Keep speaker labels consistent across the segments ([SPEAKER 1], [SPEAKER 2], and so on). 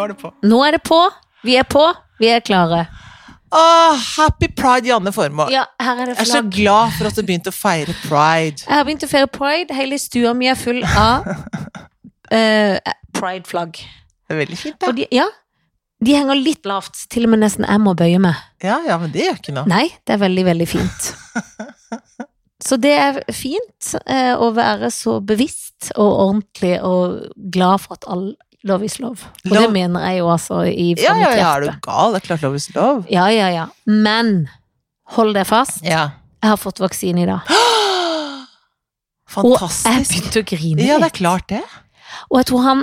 [SPEAKER 1] er det på.
[SPEAKER 2] Nå er det på. Vi er på. Vi er klare.
[SPEAKER 1] Åh, happy pride, Janne Formoe.
[SPEAKER 2] Ja, her er det
[SPEAKER 1] Jeg er så
[SPEAKER 2] flagg.
[SPEAKER 1] glad for at du begynte å feire pride.
[SPEAKER 2] Jeg har begynt å feire pride. Hele stua mi er full av eh, pride-flagg.
[SPEAKER 1] Det er veldig fint,
[SPEAKER 2] Og
[SPEAKER 1] da.
[SPEAKER 2] de, ja, de henger litt lavt. Til og med nesten jeg må bøye meg.
[SPEAKER 1] Ja, ja, men det gjør ikke noe.
[SPEAKER 2] Nei, det er veldig, veldig fint. Så det er fint eh, å være så bevisst og ordentlig og glad for at all lov is lov. Og det
[SPEAKER 1] Lov-
[SPEAKER 2] mener jeg jo altså i fra
[SPEAKER 1] Ja, ja,
[SPEAKER 2] mitt
[SPEAKER 1] ja, er du
[SPEAKER 2] hjerte.
[SPEAKER 1] gal? Det er klart lov is lov.
[SPEAKER 2] Ja, ja, ja. Men hold deg fast.
[SPEAKER 1] Ja.
[SPEAKER 2] Jeg har fått vaksine i dag. Og jeg
[SPEAKER 1] Fantastisk.
[SPEAKER 2] begynte å grine
[SPEAKER 1] Ja, det er
[SPEAKER 2] litt.
[SPEAKER 1] klart det.
[SPEAKER 2] Og jeg tror han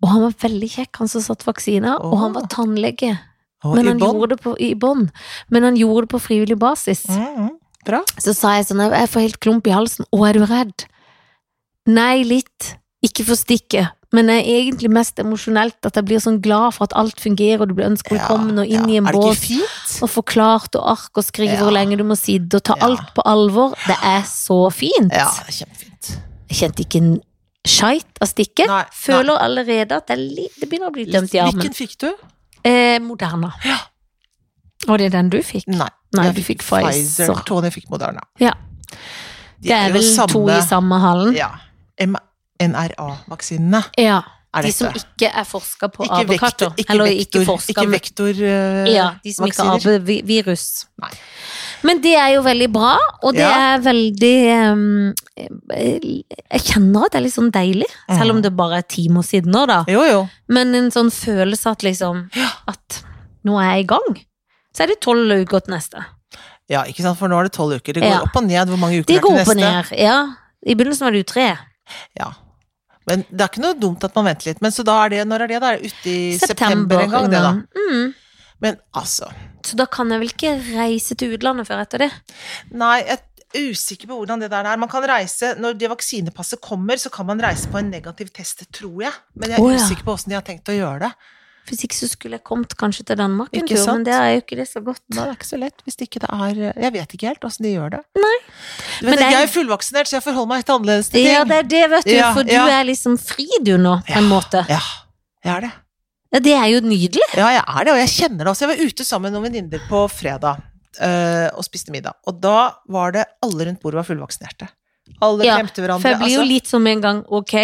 [SPEAKER 2] og han var veldig kjekk, han som satt vaksina, og han var
[SPEAKER 1] Åh.
[SPEAKER 2] tannlege.
[SPEAKER 1] Og
[SPEAKER 2] Men
[SPEAKER 1] i
[SPEAKER 2] han
[SPEAKER 1] bånd.
[SPEAKER 2] gjorde det på, i bånd. Men han gjorde det på frivillig basis.
[SPEAKER 1] Mm, mm. Bra.
[SPEAKER 2] Så sa jeg sånn, jeg får helt klump i halsen. Å, er du redd? Nei, litt. Ikke for stikket. Men det er egentlig mest emosjonelt at jeg blir sånn glad for at alt fungerer, og du blir ønsket velkommen og inn i en
[SPEAKER 1] Er det
[SPEAKER 2] bås.
[SPEAKER 1] ikke fint?
[SPEAKER 2] Og forklart og ark og skrive
[SPEAKER 1] Ja.
[SPEAKER 2] hvor lenge du må sitte og ta
[SPEAKER 1] Ja.
[SPEAKER 2] alt på alvor. Det er så fint.
[SPEAKER 1] Ja, det er kjempefint.
[SPEAKER 2] Jeg kjente ikke en skjeit av stikket.
[SPEAKER 1] Nei,
[SPEAKER 2] Føler allerede at det, er li- det begynner å bli dømt i armen.
[SPEAKER 1] Hvilken fikk du?
[SPEAKER 2] Eh, Moderna.
[SPEAKER 1] Ja.
[SPEAKER 2] Og det er den du fikk?
[SPEAKER 1] Nei,
[SPEAKER 2] Nei,
[SPEAKER 1] jeg
[SPEAKER 2] du fikk Pfizer.
[SPEAKER 1] Tony fikk Moderna.
[SPEAKER 2] Ja.
[SPEAKER 1] De
[SPEAKER 2] Det er
[SPEAKER 1] jo
[SPEAKER 2] vel to i samme halen?
[SPEAKER 1] Ja. NRA-vaksinene
[SPEAKER 2] Ja.
[SPEAKER 1] er
[SPEAKER 2] De
[SPEAKER 1] dette.
[SPEAKER 2] som ikke er forska på
[SPEAKER 1] Ikke vektor,
[SPEAKER 2] apekatter.
[SPEAKER 1] ikke
[SPEAKER 2] Eller
[SPEAKER 1] vektor,
[SPEAKER 2] ikke forska
[SPEAKER 1] ikke
[SPEAKER 2] med
[SPEAKER 1] vektor eh,
[SPEAKER 2] ja, de som ikke
[SPEAKER 1] vaksiner.
[SPEAKER 2] har vi- virus.
[SPEAKER 1] Nei.
[SPEAKER 2] Men det er jo veldig bra, og det
[SPEAKER 1] Ja.
[SPEAKER 2] er veldig ehm, Jeg kjenner at det er litt sånn deilig, selv om det bare er timer siden nå, da.
[SPEAKER 1] Jo, jo.
[SPEAKER 2] Men en sånn følelse at liksom At nå er jeg i gang. Så er det tolv uker til neste.
[SPEAKER 1] Ja, ikke sant, for nå er det tolv uker. Det går
[SPEAKER 2] Ja.
[SPEAKER 1] opp og ned hvor mange uker
[SPEAKER 2] Det
[SPEAKER 1] er til
[SPEAKER 2] går opp og
[SPEAKER 1] neste.
[SPEAKER 2] ned. Ja. I begynnelsen var det jo tre.
[SPEAKER 1] Ja. Men det er ikke noe dumt at man venter litt. Men så da er det, når er det da? Er det ute i september, en gang, det da?
[SPEAKER 2] Mm.
[SPEAKER 1] Men altså,
[SPEAKER 2] Så da kan jeg vel ikke reise til utlandet før etter det?
[SPEAKER 1] nei, jeg er usikker på hvordan det der er. Man kan reise, når det vaksinepasset kommer, så kan man reise på en negativ test, tror jeg. Men jeg er
[SPEAKER 2] Å, ja.
[SPEAKER 1] usikker på åssen de har tenkt å gjøre det.
[SPEAKER 2] Hvis ikke så skulle jeg kommet kanskje til Danmark en
[SPEAKER 1] Ikke
[SPEAKER 2] tur, men
[SPEAKER 1] sant?
[SPEAKER 2] det er jo ikke det så godt.
[SPEAKER 1] Nei, det er ikke så lett hvis det ikke det er Jeg vet ikke helt åssen de gjør det. Du
[SPEAKER 2] men
[SPEAKER 1] vet,
[SPEAKER 2] det er-
[SPEAKER 1] Jeg er jo fullvaksinert, så jeg forholder meg helt annerledes til ting.
[SPEAKER 2] Ja, det er det, vet du,
[SPEAKER 1] Ja,
[SPEAKER 2] for du
[SPEAKER 1] ja.
[SPEAKER 2] er liksom fri du nå, på en måte.
[SPEAKER 1] Ja, jeg er det.
[SPEAKER 2] Ja, det er jo nydelig.
[SPEAKER 1] Ja, jeg er det, og jeg kjenner det også. Jeg var ute sammen med noen venninner på fredag eh, og spiste middag. Og da var det alle rundt bordet var fullvaksinerte. Alle
[SPEAKER 2] Ja,
[SPEAKER 1] klemte
[SPEAKER 2] For
[SPEAKER 1] hverandre.
[SPEAKER 2] jeg blir jo
[SPEAKER 1] altså,
[SPEAKER 2] litt som en gang, ok,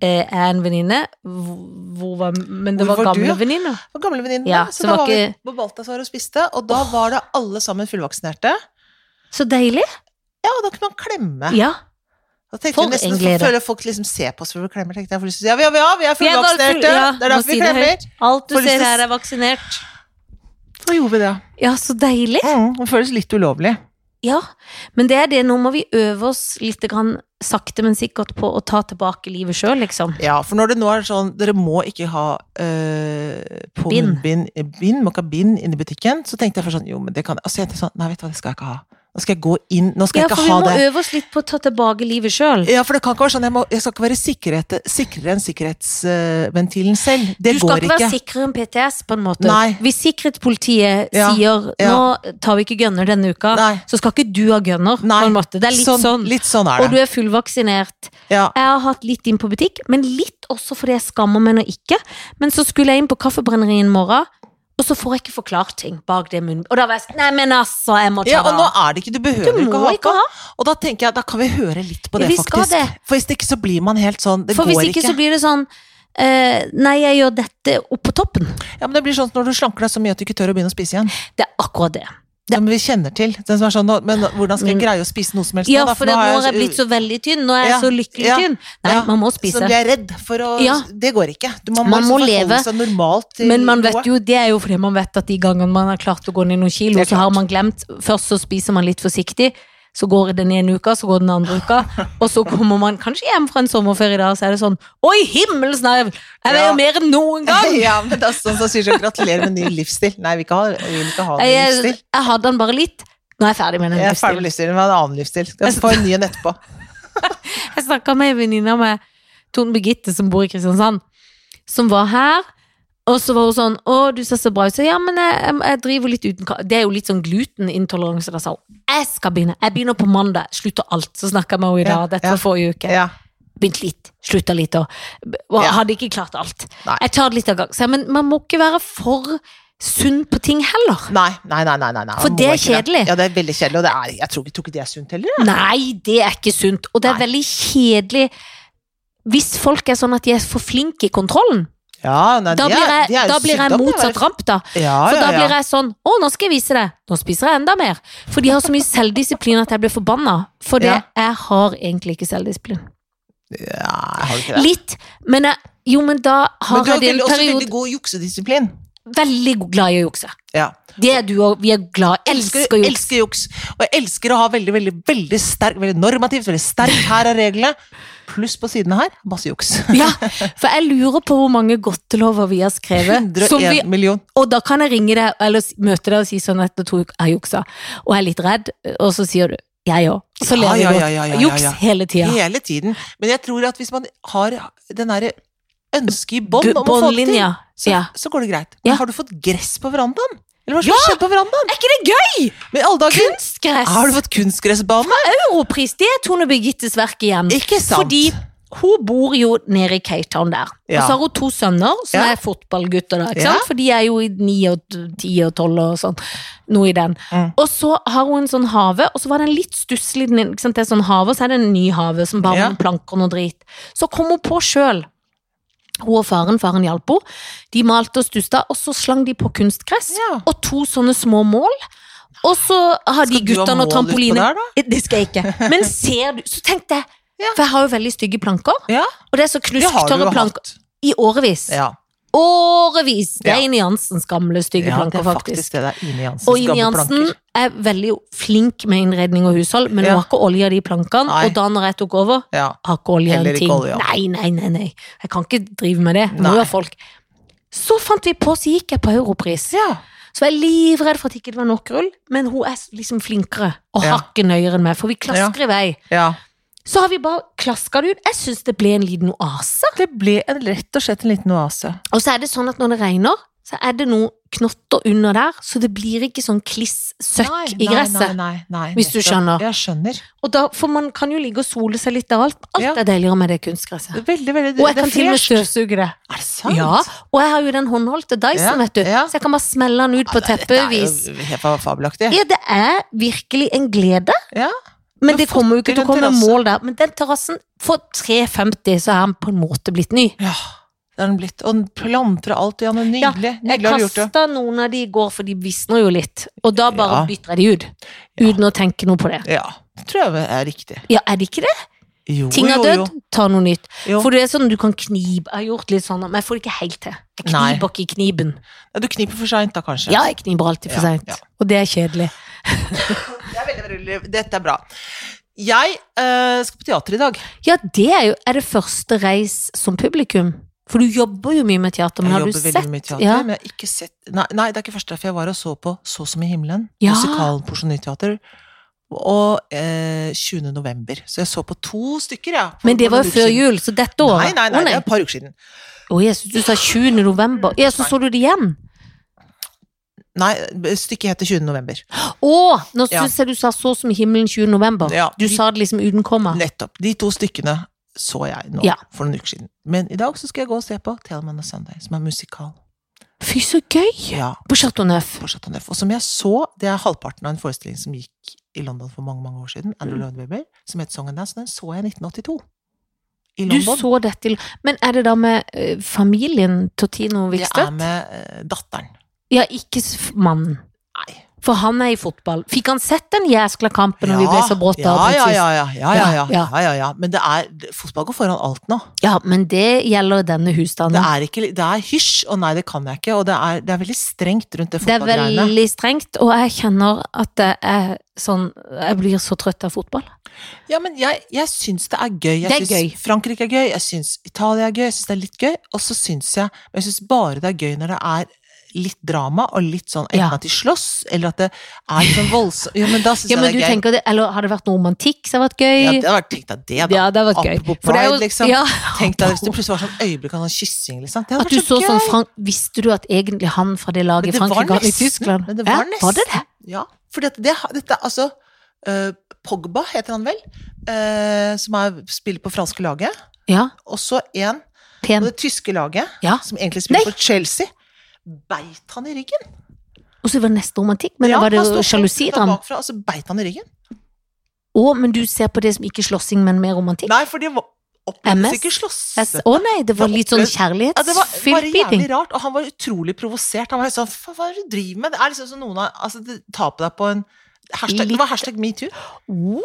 [SPEAKER 2] eh, jeg er en venninne, hvor hvor var Men det
[SPEAKER 1] Hvor
[SPEAKER 2] var
[SPEAKER 1] var du,
[SPEAKER 2] gamle
[SPEAKER 1] ja?
[SPEAKER 2] venninner.
[SPEAKER 1] det var gamle venninner.
[SPEAKER 2] Ja,
[SPEAKER 1] så
[SPEAKER 2] så
[SPEAKER 1] da
[SPEAKER 2] var
[SPEAKER 1] var vi
[SPEAKER 2] ikke-
[SPEAKER 1] på Balthazar og spiste, og da var det alle sammen fullvaksinerte.
[SPEAKER 2] Så deilig.
[SPEAKER 1] Ja, og da kunne man klemme.
[SPEAKER 2] Ja.
[SPEAKER 1] Da tenkte
[SPEAKER 2] For
[SPEAKER 1] jeg nesten,
[SPEAKER 2] en glede.
[SPEAKER 1] Føler folk liksom ser på oss før vi klemmer. tenkte jeg. For lyst til å si, ja, ja, ja, vi er
[SPEAKER 2] Vi er bare full-
[SPEAKER 1] fullvaksinerte!
[SPEAKER 2] ja,
[SPEAKER 1] det er
[SPEAKER 2] må
[SPEAKER 1] derfor vi
[SPEAKER 2] si det
[SPEAKER 1] klemmer.
[SPEAKER 2] Alt du
[SPEAKER 1] Får lyst
[SPEAKER 2] ser
[SPEAKER 1] til å s-
[SPEAKER 2] her er vaksinert.
[SPEAKER 1] Så gjorde vi det.
[SPEAKER 2] Ja, så deilig.
[SPEAKER 1] Mm, det føles litt ulovlig.
[SPEAKER 2] Ja, men det er det, nå må vi øve oss litt grann sakte, men sikkert på å ta tilbake livet sjøl, liksom.
[SPEAKER 1] Ja, for når det nå er sånn Dere må ikke ha øh, på
[SPEAKER 2] Bind.
[SPEAKER 1] munnbind eh, bind, må ikke ha bind inne i butikken. Så tenkte jeg først sånn Jo, men det kan Og så tenkte jeg sånn Nei, vet du hva, det skal jeg ikke ha. Nå skal jeg gå inn Nå skal
[SPEAKER 2] Ja,
[SPEAKER 1] jeg
[SPEAKER 2] for
[SPEAKER 1] ikke
[SPEAKER 2] vi
[SPEAKER 1] ha
[SPEAKER 2] må
[SPEAKER 1] det.
[SPEAKER 2] øve oss litt på å ta tilbake livet sjøl.
[SPEAKER 1] Ja, for det kan ikke være sånn Jeg, må, jeg skal ikke være sikkerhet, sikrere enn sikkerhetsventilen selv. Det
[SPEAKER 2] Du skal
[SPEAKER 1] går
[SPEAKER 2] ikke være
[SPEAKER 1] ikke.
[SPEAKER 2] sikrere enn PTS, på en måte.
[SPEAKER 1] Nei.
[SPEAKER 2] Hvis sikkerhetspolitiet
[SPEAKER 1] Ja,
[SPEAKER 2] sier
[SPEAKER 1] ja.
[SPEAKER 2] 'nå tar vi ikke gunner denne uka',
[SPEAKER 1] Nei.
[SPEAKER 2] så skal ikke du ha gunner,
[SPEAKER 1] Nei,
[SPEAKER 2] på en måte. Det er litt sånn.
[SPEAKER 1] Litt sånn er
[SPEAKER 2] Og du
[SPEAKER 1] det.
[SPEAKER 2] er fullvaksinert.
[SPEAKER 1] Ja.
[SPEAKER 2] Jeg har hatt litt inn på butikk, men litt også fordi jeg skammer meg nå ikke. Men så skulle jeg inn på Kaffebrenneriet en morgen, og så får jeg ikke forklart ting bak det munnen... Og da var jeg sånn Nei, men altså, jeg må ta
[SPEAKER 1] Ja,
[SPEAKER 2] det
[SPEAKER 1] og nå
[SPEAKER 2] av.
[SPEAKER 1] er det ikke Du
[SPEAKER 2] Du
[SPEAKER 1] behøver ikke
[SPEAKER 2] må
[SPEAKER 1] ha
[SPEAKER 2] ikke
[SPEAKER 1] på.
[SPEAKER 2] ha.
[SPEAKER 1] Og da tenker jeg, da kan vi høre litt på det,
[SPEAKER 2] Ja, vi skal
[SPEAKER 1] faktisk.
[SPEAKER 2] det.
[SPEAKER 1] For hvis ikke så blir man helt sånn Det
[SPEAKER 2] For
[SPEAKER 1] går
[SPEAKER 2] hvis ikke, så blir det sånn eh, Nei, jeg gjør dette opp på toppen.
[SPEAKER 1] Ja, men det blir sånn når du slanker deg så mye at du ikke tør å begynne å spise igjen.
[SPEAKER 2] Det er akkurat det.
[SPEAKER 1] Som vi kjenner til. Den som er sånn, «Nå- men hvordan skal jeg
[SPEAKER 2] Men-
[SPEAKER 1] greie å spise noe som helst
[SPEAKER 2] Mm. Ja,
[SPEAKER 1] da,
[SPEAKER 2] for nå
[SPEAKER 1] har
[SPEAKER 2] har jeg blitt så veldig tynn. Nå er jeg
[SPEAKER 1] Ja,
[SPEAKER 2] så lykkelig
[SPEAKER 1] ja,
[SPEAKER 2] tynn. Nei,
[SPEAKER 1] ja.
[SPEAKER 2] man må
[SPEAKER 1] Så du
[SPEAKER 2] spise.
[SPEAKER 1] er redd for å
[SPEAKER 2] Ja.
[SPEAKER 1] Det går ikke. Du, man,
[SPEAKER 2] Man
[SPEAKER 1] må
[SPEAKER 2] må
[SPEAKER 1] liksom forholde
[SPEAKER 2] leve.
[SPEAKER 1] seg normalt til
[SPEAKER 2] Men man vet jo, det er jo fordi man vet at de gangene man har klart å gå ned noen kilo,
[SPEAKER 1] Det er
[SPEAKER 2] så har
[SPEAKER 1] klart.
[SPEAKER 2] man glemt. Først så spiser man litt forsiktig, så går det den ene uka, så går den andre uka, og så kommer man kanskje hjem fra en sommerferie i dag, så er det sånn Oi, himmelens navn! Jeg veier
[SPEAKER 1] Ja.
[SPEAKER 2] mer enn noen gang!
[SPEAKER 1] ja, men det er sånn som sier sånn gratulerer med ny livsstil. Nei, vi vil ikke ha, vi vil ikke ha en ny
[SPEAKER 2] Jeg, jeg,
[SPEAKER 1] livsstil.
[SPEAKER 2] jeg hadde den bare litt. Nå er jeg ferdig med den.
[SPEAKER 1] Jeg er ferdig
[SPEAKER 2] livsstilen.
[SPEAKER 1] med livsstilen, men en annen livsstil. Jeg skal få en ny en etterpå.
[SPEAKER 2] Jeg snakka med en venninne med Tone Birgitte som bor i Kristiansand, som var her. Og så var hun sånn 'Å, du ser så bra ut.' Så ja, men jeg, jeg- jeg driver litt uten ka- Det er jo litt sånn glutenintoleranse. Da sa hun 'Jeg skal begynne. Jeg begynner på mandag. Slutter alt.' Så snakka jeg med henne i dag.
[SPEAKER 1] Ja,
[SPEAKER 2] Dette
[SPEAKER 1] ja.
[SPEAKER 2] var forrige uke.
[SPEAKER 1] Ja.
[SPEAKER 2] Begynt litt, slutta litt og og
[SPEAKER 1] Ja.
[SPEAKER 2] hadde ikke klart alt.
[SPEAKER 1] Nei.
[SPEAKER 2] Jeg tar det litt av gang. Så jeg, Men man må ikke være for sunn på ting heller.
[SPEAKER 1] Nei, nei, nei. nei, nei, nei.
[SPEAKER 2] For
[SPEAKER 1] man
[SPEAKER 2] det
[SPEAKER 1] må
[SPEAKER 2] er
[SPEAKER 1] ikke
[SPEAKER 2] kjedelig.
[SPEAKER 1] Ja, det er veldig kjedelig, og det er, jeg tror ikke, tror ikke det er sunt heller. jeg.
[SPEAKER 2] Nei, det er ikke sunt. Og det er
[SPEAKER 1] Nei.
[SPEAKER 2] veldig kjedelig hvis folk er sånn at de er for flinke i kontrollen.
[SPEAKER 1] Ja, nei,
[SPEAKER 2] Da
[SPEAKER 1] de er-
[SPEAKER 2] blir jeg,
[SPEAKER 1] de er jo
[SPEAKER 2] da blir
[SPEAKER 1] sydd
[SPEAKER 2] jeg
[SPEAKER 1] opp, det er
[SPEAKER 2] motsatt
[SPEAKER 1] bare-
[SPEAKER 2] ramp, da.
[SPEAKER 1] Ja,
[SPEAKER 2] For
[SPEAKER 1] ja,
[SPEAKER 2] da
[SPEAKER 1] ja.
[SPEAKER 2] blir jeg sånn Å, nå skal jeg vise det. Nå spiser jeg enda mer. For de har så mye selvdisiplin at jeg blir forbanna. For det,
[SPEAKER 1] Ja.
[SPEAKER 2] jeg har egentlig ikke selvdisiplin.
[SPEAKER 1] ja, jeg har ikke det.
[SPEAKER 2] Litt, men jeg, jo, men da
[SPEAKER 1] Men
[SPEAKER 2] har
[SPEAKER 1] du har
[SPEAKER 2] jeg det
[SPEAKER 1] veldig,
[SPEAKER 2] en
[SPEAKER 1] også veldig
[SPEAKER 2] periode
[SPEAKER 1] god juksedisiplin.
[SPEAKER 2] Veldig glad i å jukse.
[SPEAKER 1] Ja.
[SPEAKER 2] Det er du òg. Vi er glad.
[SPEAKER 1] elsker,
[SPEAKER 2] Elsker juks.
[SPEAKER 1] elsker juks. Og jeg elsker å ha veldig, veldig, veldig sterk, veldig normativt, veldig sterk her er reglene. Pluss på siden her, masse juks.
[SPEAKER 2] Ja, for jeg lurer på hvor mange godtelover vi har skrevet. Som vi
[SPEAKER 1] 101 million.
[SPEAKER 2] Og da kan jeg ringe deg eller s- møte deg og si sånn at nå tror jeg jeg juksa, og jeg er litt redd, og så sier du jeg òg. Så ler
[SPEAKER 1] Ja,
[SPEAKER 2] vi
[SPEAKER 1] ja,
[SPEAKER 2] godt.
[SPEAKER 1] ja, ja, ja, ja,
[SPEAKER 2] Juks
[SPEAKER 1] ja.
[SPEAKER 2] hele tida.
[SPEAKER 1] Hele tiden. Men jeg tror at hvis man har den derre ønsket i bånd om å få det til,
[SPEAKER 2] Båndlinja.
[SPEAKER 1] så,
[SPEAKER 2] Ja.
[SPEAKER 1] så går det greit.
[SPEAKER 2] Ja.
[SPEAKER 1] Men har du fått gress på verandaen? Eller hva som skjedde på verandaen?
[SPEAKER 2] Er ikke det gøy?
[SPEAKER 1] Men i alle dager, har
[SPEAKER 2] Kunstgress!
[SPEAKER 1] du fått kunstgressbane?
[SPEAKER 2] Europris, det er Tone Birgittes verk igjen.
[SPEAKER 1] Ikke sant?
[SPEAKER 2] Fordi hun bor jo nede i Cape Town der.
[SPEAKER 1] Ja.
[SPEAKER 2] Og så har hun to sønner som
[SPEAKER 1] Ja.
[SPEAKER 2] er fotballgutter, da, ikke
[SPEAKER 1] Ja.
[SPEAKER 2] sant? for de er jo i ni og t- ti og tolv og sånn. Noe i den.
[SPEAKER 1] Mm.
[SPEAKER 2] Og så har hun en sånn hage, og så var den litt stusslig. den- Ikke sant? Det er sånn hage, og så er det en ny hage som bare
[SPEAKER 1] Ja.
[SPEAKER 2] med planker og noe drit. Så kom hun på sjøl. Hun og faren, faren hjalp henne. De malte og stusta, og så slang de på kunstgress.
[SPEAKER 1] Ja.
[SPEAKER 2] Og to sånne små mål. Og så har de
[SPEAKER 1] Skal du ha
[SPEAKER 2] guttene
[SPEAKER 1] mål
[SPEAKER 2] og
[SPEAKER 1] utpå
[SPEAKER 2] trampoline.
[SPEAKER 1] der, da?
[SPEAKER 2] Eh, Det skal jeg ikke. Men ser du Så tenkte jeg,
[SPEAKER 1] Ja.
[SPEAKER 2] for jeg har jo veldig stygge planker.
[SPEAKER 1] Ja,
[SPEAKER 2] Og det er så
[SPEAKER 1] det har du
[SPEAKER 2] knusktørre
[SPEAKER 1] jo
[SPEAKER 2] planker
[SPEAKER 1] hatt.
[SPEAKER 2] i årevis.
[SPEAKER 1] Ja,
[SPEAKER 2] Årevis! Det er
[SPEAKER 1] Ja.
[SPEAKER 2] Ine Jansens gamle stygge
[SPEAKER 1] ja det
[SPEAKER 2] planker,
[SPEAKER 1] er
[SPEAKER 2] faktisk.
[SPEAKER 1] faktisk det. Det er Ine Jansens
[SPEAKER 2] Og Ine
[SPEAKER 1] gamle
[SPEAKER 2] Jansen
[SPEAKER 1] planker.
[SPEAKER 2] er veldig flink med innredning og hushold, men
[SPEAKER 1] Ja.
[SPEAKER 2] hun har ikke olje i de plankene.
[SPEAKER 1] Nei.
[SPEAKER 2] Og da når jeg tok over,
[SPEAKER 1] Ja.
[SPEAKER 2] har ikke olje i
[SPEAKER 1] Heller
[SPEAKER 2] en
[SPEAKER 1] ikke
[SPEAKER 2] ting.
[SPEAKER 1] olje.
[SPEAKER 2] Nei, nei, nei, nei. Jeg kan ikke drive med det. Jeg Må
[SPEAKER 1] Nei.
[SPEAKER 2] jo ha folk. Så fant vi på, så gikk jeg på Europris.
[SPEAKER 1] ja.
[SPEAKER 2] Så var jeg livredd for at ikke det var nok rull, men hun er liksom flinkere og
[SPEAKER 1] Ja.
[SPEAKER 2] hakket nøyere enn meg, for vi klasker i vei.
[SPEAKER 1] ja.
[SPEAKER 2] Så har vi bare klaska det ut. Jeg syns det ble en liten oase.
[SPEAKER 1] Det ble en, rett og slett en liten oase.
[SPEAKER 2] Og så er det sånn at når det regner, så er det noen knotter under der, så det blir ikke sånn kliss søkk i gresset.
[SPEAKER 1] Nei, nei, nei, nei,
[SPEAKER 2] Hvis du
[SPEAKER 1] nettopp.
[SPEAKER 2] skjønner.
[SPEAKER 1] Jeg skjønner.
[SPEAKER 2] Og da, For man kan jo ligge og sole seg litt av alt. Alt
[SPEAKER 1] Ja.
[SPEAKER 2] er deiligere med det
[SPEAKER 1] Det
[SPEAKER 2] kunstgresset.
[SPEAKER 1] er veldig, veldig
[SPEAKER 2] Og jeg
[SPEAKER 1] det er
[SPEAKER 2] kan til og med
[SPEAKER 1] fresh.
[SPEAKER 2] støvsuge det.
[SPEAKER 1] Er det sant?
[SPEAKER 2] Ja, Og jeg har jo den håndholdte Dyson,
[SPEAKER 1] Ja,
[SPEAKER 2] vet du.
[SPEAKER 1] ja.
[SPEAKER 2] Så jeg kan bare smelle den ut på teppevis.
[SPEAKER 1] Det er jo helt fa- fabelaktig.
[SPEAKER 2] Ja, det er virkelig en glede.
[SPEAKER 1] Ja.
[SPEAKER 2] Men
[SPEAKER 1] Du har
[SPEAKER 2] det kommer
[SPEAKER 1] fått
[SPEAKER 2] jo ikke
[SPEAKER 1] til
[SPEAKER 2] til å komme
[SPEAKER 1] en terrasse.
[SPEAKER 2] mål der. Men den terrassen, for 3,50 så er den på en måte blitt ny.
[SPEAKER 1] ja. Det er den blitt. Og den planter og alt. Ja, men
[SPEAKER 2] Ja,
[SPEAKER 1] nydelig.
[SPEAKER 2] Jeg
[SPEAKER 1] nydelig har du gjort det.
[SPEAKER 2] kasta noen av de i går, for de visner jo litt. Og da bare
[SPEAKER 1] Ja.
[SPEAKER 2] bytter jeg de ut. Uten å tenke noe på det.
[SPEAKER 1] Ja. Det tror jeg er riktig.
[SPEAKER 2] Ja, er det ikke det?
[SPEAKER 1] Jo,
[SPEAKER 2] Ting er
[SPEAKER 1] jo,
[SPEAKER 2] dødd, ta noe nytt.
[SPEAKER 1] Jo.
[SPEAKER 2] For det er sånn du kan knibe. Jeg har gjort litt sånn, men jeg får det ikke helt til. Jeg
[SPEAKER 1] Nei.
[SPEAKER 2] kniper ikke i kniben.
[SPEAKER 1] Jo. Ja, du kniper for seint da, kanskje.
[SPEAKER 2] Ja, jeg kniper alltid for
[SPEAKER 1] Ja,
[SPEAKER 2] seint.
[SPEAKER 1] ja.
[SPEAKER 2] Og det er kjedelig.
[SPEAKER 1] Det er veldig, veldig, dette er bra. Jeg eh, skal på teater i dag.
[SPEAKER 2] Ja, det er jo er det første reis som publikum. For du jobber jo mye med teater,
[SPEAKER 1] Jeg
[SPEAKER 2] men har du
[SPEAKER 1] jobber veldig
[SPEAKER 2] sett?
[SPEAKER 1] mye med teater,
[SPEAKER 2] Ja.
[SPEAKER 1] men jeg har ikke sett nei, nei, det er ikke første, for jeg var og så på Så som i himmelen,
[SPEAKER 2] Ja.
[SPEAKER 1] musikalen på Journyteater, og eh, 20. november. Så jeg så på to stykker, ja. for
[SPEAKER 2] Men det var
[SPEAKER 1] noen
[SPEAKER 2] jo
[SPEAKER 1] uker
[SPEAKER 2] før
[SPEAKER 1] siden.
[SPEAKER 2] jul, så dette
[SPEAKER 1] Nei,
[SPEAKER 2] året.
[SPEAKER 1] nei, nei,
[SPEAKER 2] Å,
[SPEAKER 1] det er et par uker siden.
[SPEAKER 2] Å, jeg synes du sa 20. november. Ja, så så du det igjen.
[SPEAKER 1] Nei, stykket heter 20. november.
[SPEAKER 2] Å, nå
[SPEAKER 1] Ja.
[SPEAKER 2] synes jeg du sa så som i himmelen 20. november.
[SPEAKER 1] Ja.
[SPEAKER 2] Du sa det liksom uten komma.
[SPEAKER 1] Nettopp. De to stykkene så jeg nå
[SPEAKER 2] Ja.
[SPEAKER 1] for noen uker siden. Men i dag så skal jeg gå og se på Telemann og Sunday, som er musikal.
[SPEAKER 2] Fy, så gøy!
[SPEAKER 1] Ja,
[SPEAKER 2] På Chateau Neuf.
[SPEAKER 1] på Chateau Neuf. Og som jeg så, det er halvparten av en forestilling som gikk i London for mange mange år siden,
[SPEAKER 2] Mm.
[SPEAKER 1] Andrew Lloyd Webber, som het Song and Dance. Den så jeg i 1982. I
[SPEAKER 2] Du
[SPEAKER 1] London.
[SPEAKER 2] så det til Men er det da med eh, familien Totino
[SPEAKER 1] det er
[SPEAKER 2] Vikstøt?
[SPEAKER 1] med eh, datteren.
[SPEAKER 2] Ja, ikke s- mannen.
[SPEAKER 1] Nei.
[SPEAKER 2] For han er i fotball. Fikk han sett den jæskla kampen når vi
[SPEAKER 1] Ja,
[SPEAKER 2] ble så brått
[SPEAKER 1] ja,
[SPEAKER 2] avbrutt
[SPEAKER 1] ja,
[SPEAKER 2] sist?
[SPEAKER 1] ja, ja, ja, ja, ja,
[SPEAKER 2] Ja,
[SPEAKER 1] ja, ja, ja. Men det er Fotball går foran alt nå.
[SPEAKER 2] Ja, men det gjelder denne
[SPEAKER 1] Det
[SPEAKER 2] husstanden.
[SPEAKER 1] er, ikke, det er hysj, og nei, det kan jeg ikke. Og det er, det er veldig strengt rundt det
[SPEAKER 2] Det er
[SPEAKER 1] fotballgreiene.
[SPEAKER 2] veldig strengt, og jeg kjenner at det er sånn Jeg blir så trøtt av fotball.
[SPEAKER 1] Ja, men jeg, jeg syns det er gøy. Jeg
[SPEAKER 2] Det er
[SPEAKER 1] syns
[SPEAKER 2] gøy.
[SPEAKER 1] Frankrike er gøy, jeg syns Italia er gøy, jeg syns det er litt gøy. Og så syns jeg Men jeg syns bare det er gøy når det er litt drama, og litt sånn enten
[SPEAKER 2] Ja.
[SPEAKER 1] at de slåss, eller at det er sånn voldsomt Jo, men da syns
[SPEAKER 2] Ja, men
[SPEAKER 1] jeg
[SPEAKER 2] du
[SPEAKER 1] det er gøy.
[SPEAKER 2] tenker det, Eller har det vært noe romantikk som har vært gøy?
[SPEAKER 1] Ja, det hadde vært tenkt deg det, da.
[SPEAKER 2] Ja, det har vært gøy.
[SPEAKER 1] Apropos
[SPEAKER 2] For det er jo-
[SPEAKER 1] pride, liksom.
[SPEAKER 2] Ja.
[SPEAKER 1] Tenk deg hvis det plutselig var sånn øyeblikk av sånn kyssing, liksom. Det hadde
[SPEAKER 2] At du
[SPEAKER 1] vært
[SPEAKER 2] så
[SPEAKER 1] så gøy.
[SPEAKER 2] sånn Frank, Visste du at egentlig han fra det laget i
[SPEAKER 1] Men det var
[SPEAKER 2] Frankrike var i
[SPEAKER 1] nesten,
[SPEAKER 2] Tyskland?
[SPEAKER 1] Men det var
[SPEAKER 2] ja, var det det?
[SPEAKER 1] nesten. Ja, for dette, det, dette, altså eh, Pogba heter han vel, eh, som er, spiller på franske laget.
[SPEAKER 2] Ja,
[SPEAKER 1] Og så en på
[SPEAKER 2] pen.
[SPEAKER 1] det tyske laget,
[SPEAKER 2] Ja.
[SPEAKER 1] som egentlig spiller
[SPEAKER 2] Nei.
[SPEAKER 1] for Chelsea. Beit han i ryggen?
[SPEAKER 2] Og så var det neste romantikk, men
[SPEAKER 1] Ja,
[SPEAKER 2] var det
[SPEAKER 1] han sto
[SPEAKER 2] jo sjalusi i
[SPEAKER 1] fullt av
[SPEAKER 2] den?
[SPEAKER 1] bakfra, Og så beit han i ryggen.
[SPEAKER 2] Å, men du ser på det som ikke slåssing, men mer romantikk?
[SPEAKER 1] Nei, for de var- opplevdes
[SPEAKER 2] MS?
[SPEAKER 1] ikke slåss.
[SPEAKER 2] Jeg s- Å nei, det var
[SPEAKER 1] Det
[SPEAKER 2] litt sånn
[SPEAKER 1] opplevd- Ja, det var bare
[SPEAKER 2] kjærlighetsfylt beating.
[SPEAKER 1] jævlig rart, og han var utrolig provosert. Han var helt sånn, "Fa- hva er det du driver med? Det er liksom som noen har, altså, det- ta på deg på en hashtag, Det var hashtag metoo.
[SPEAKER 2] Oh.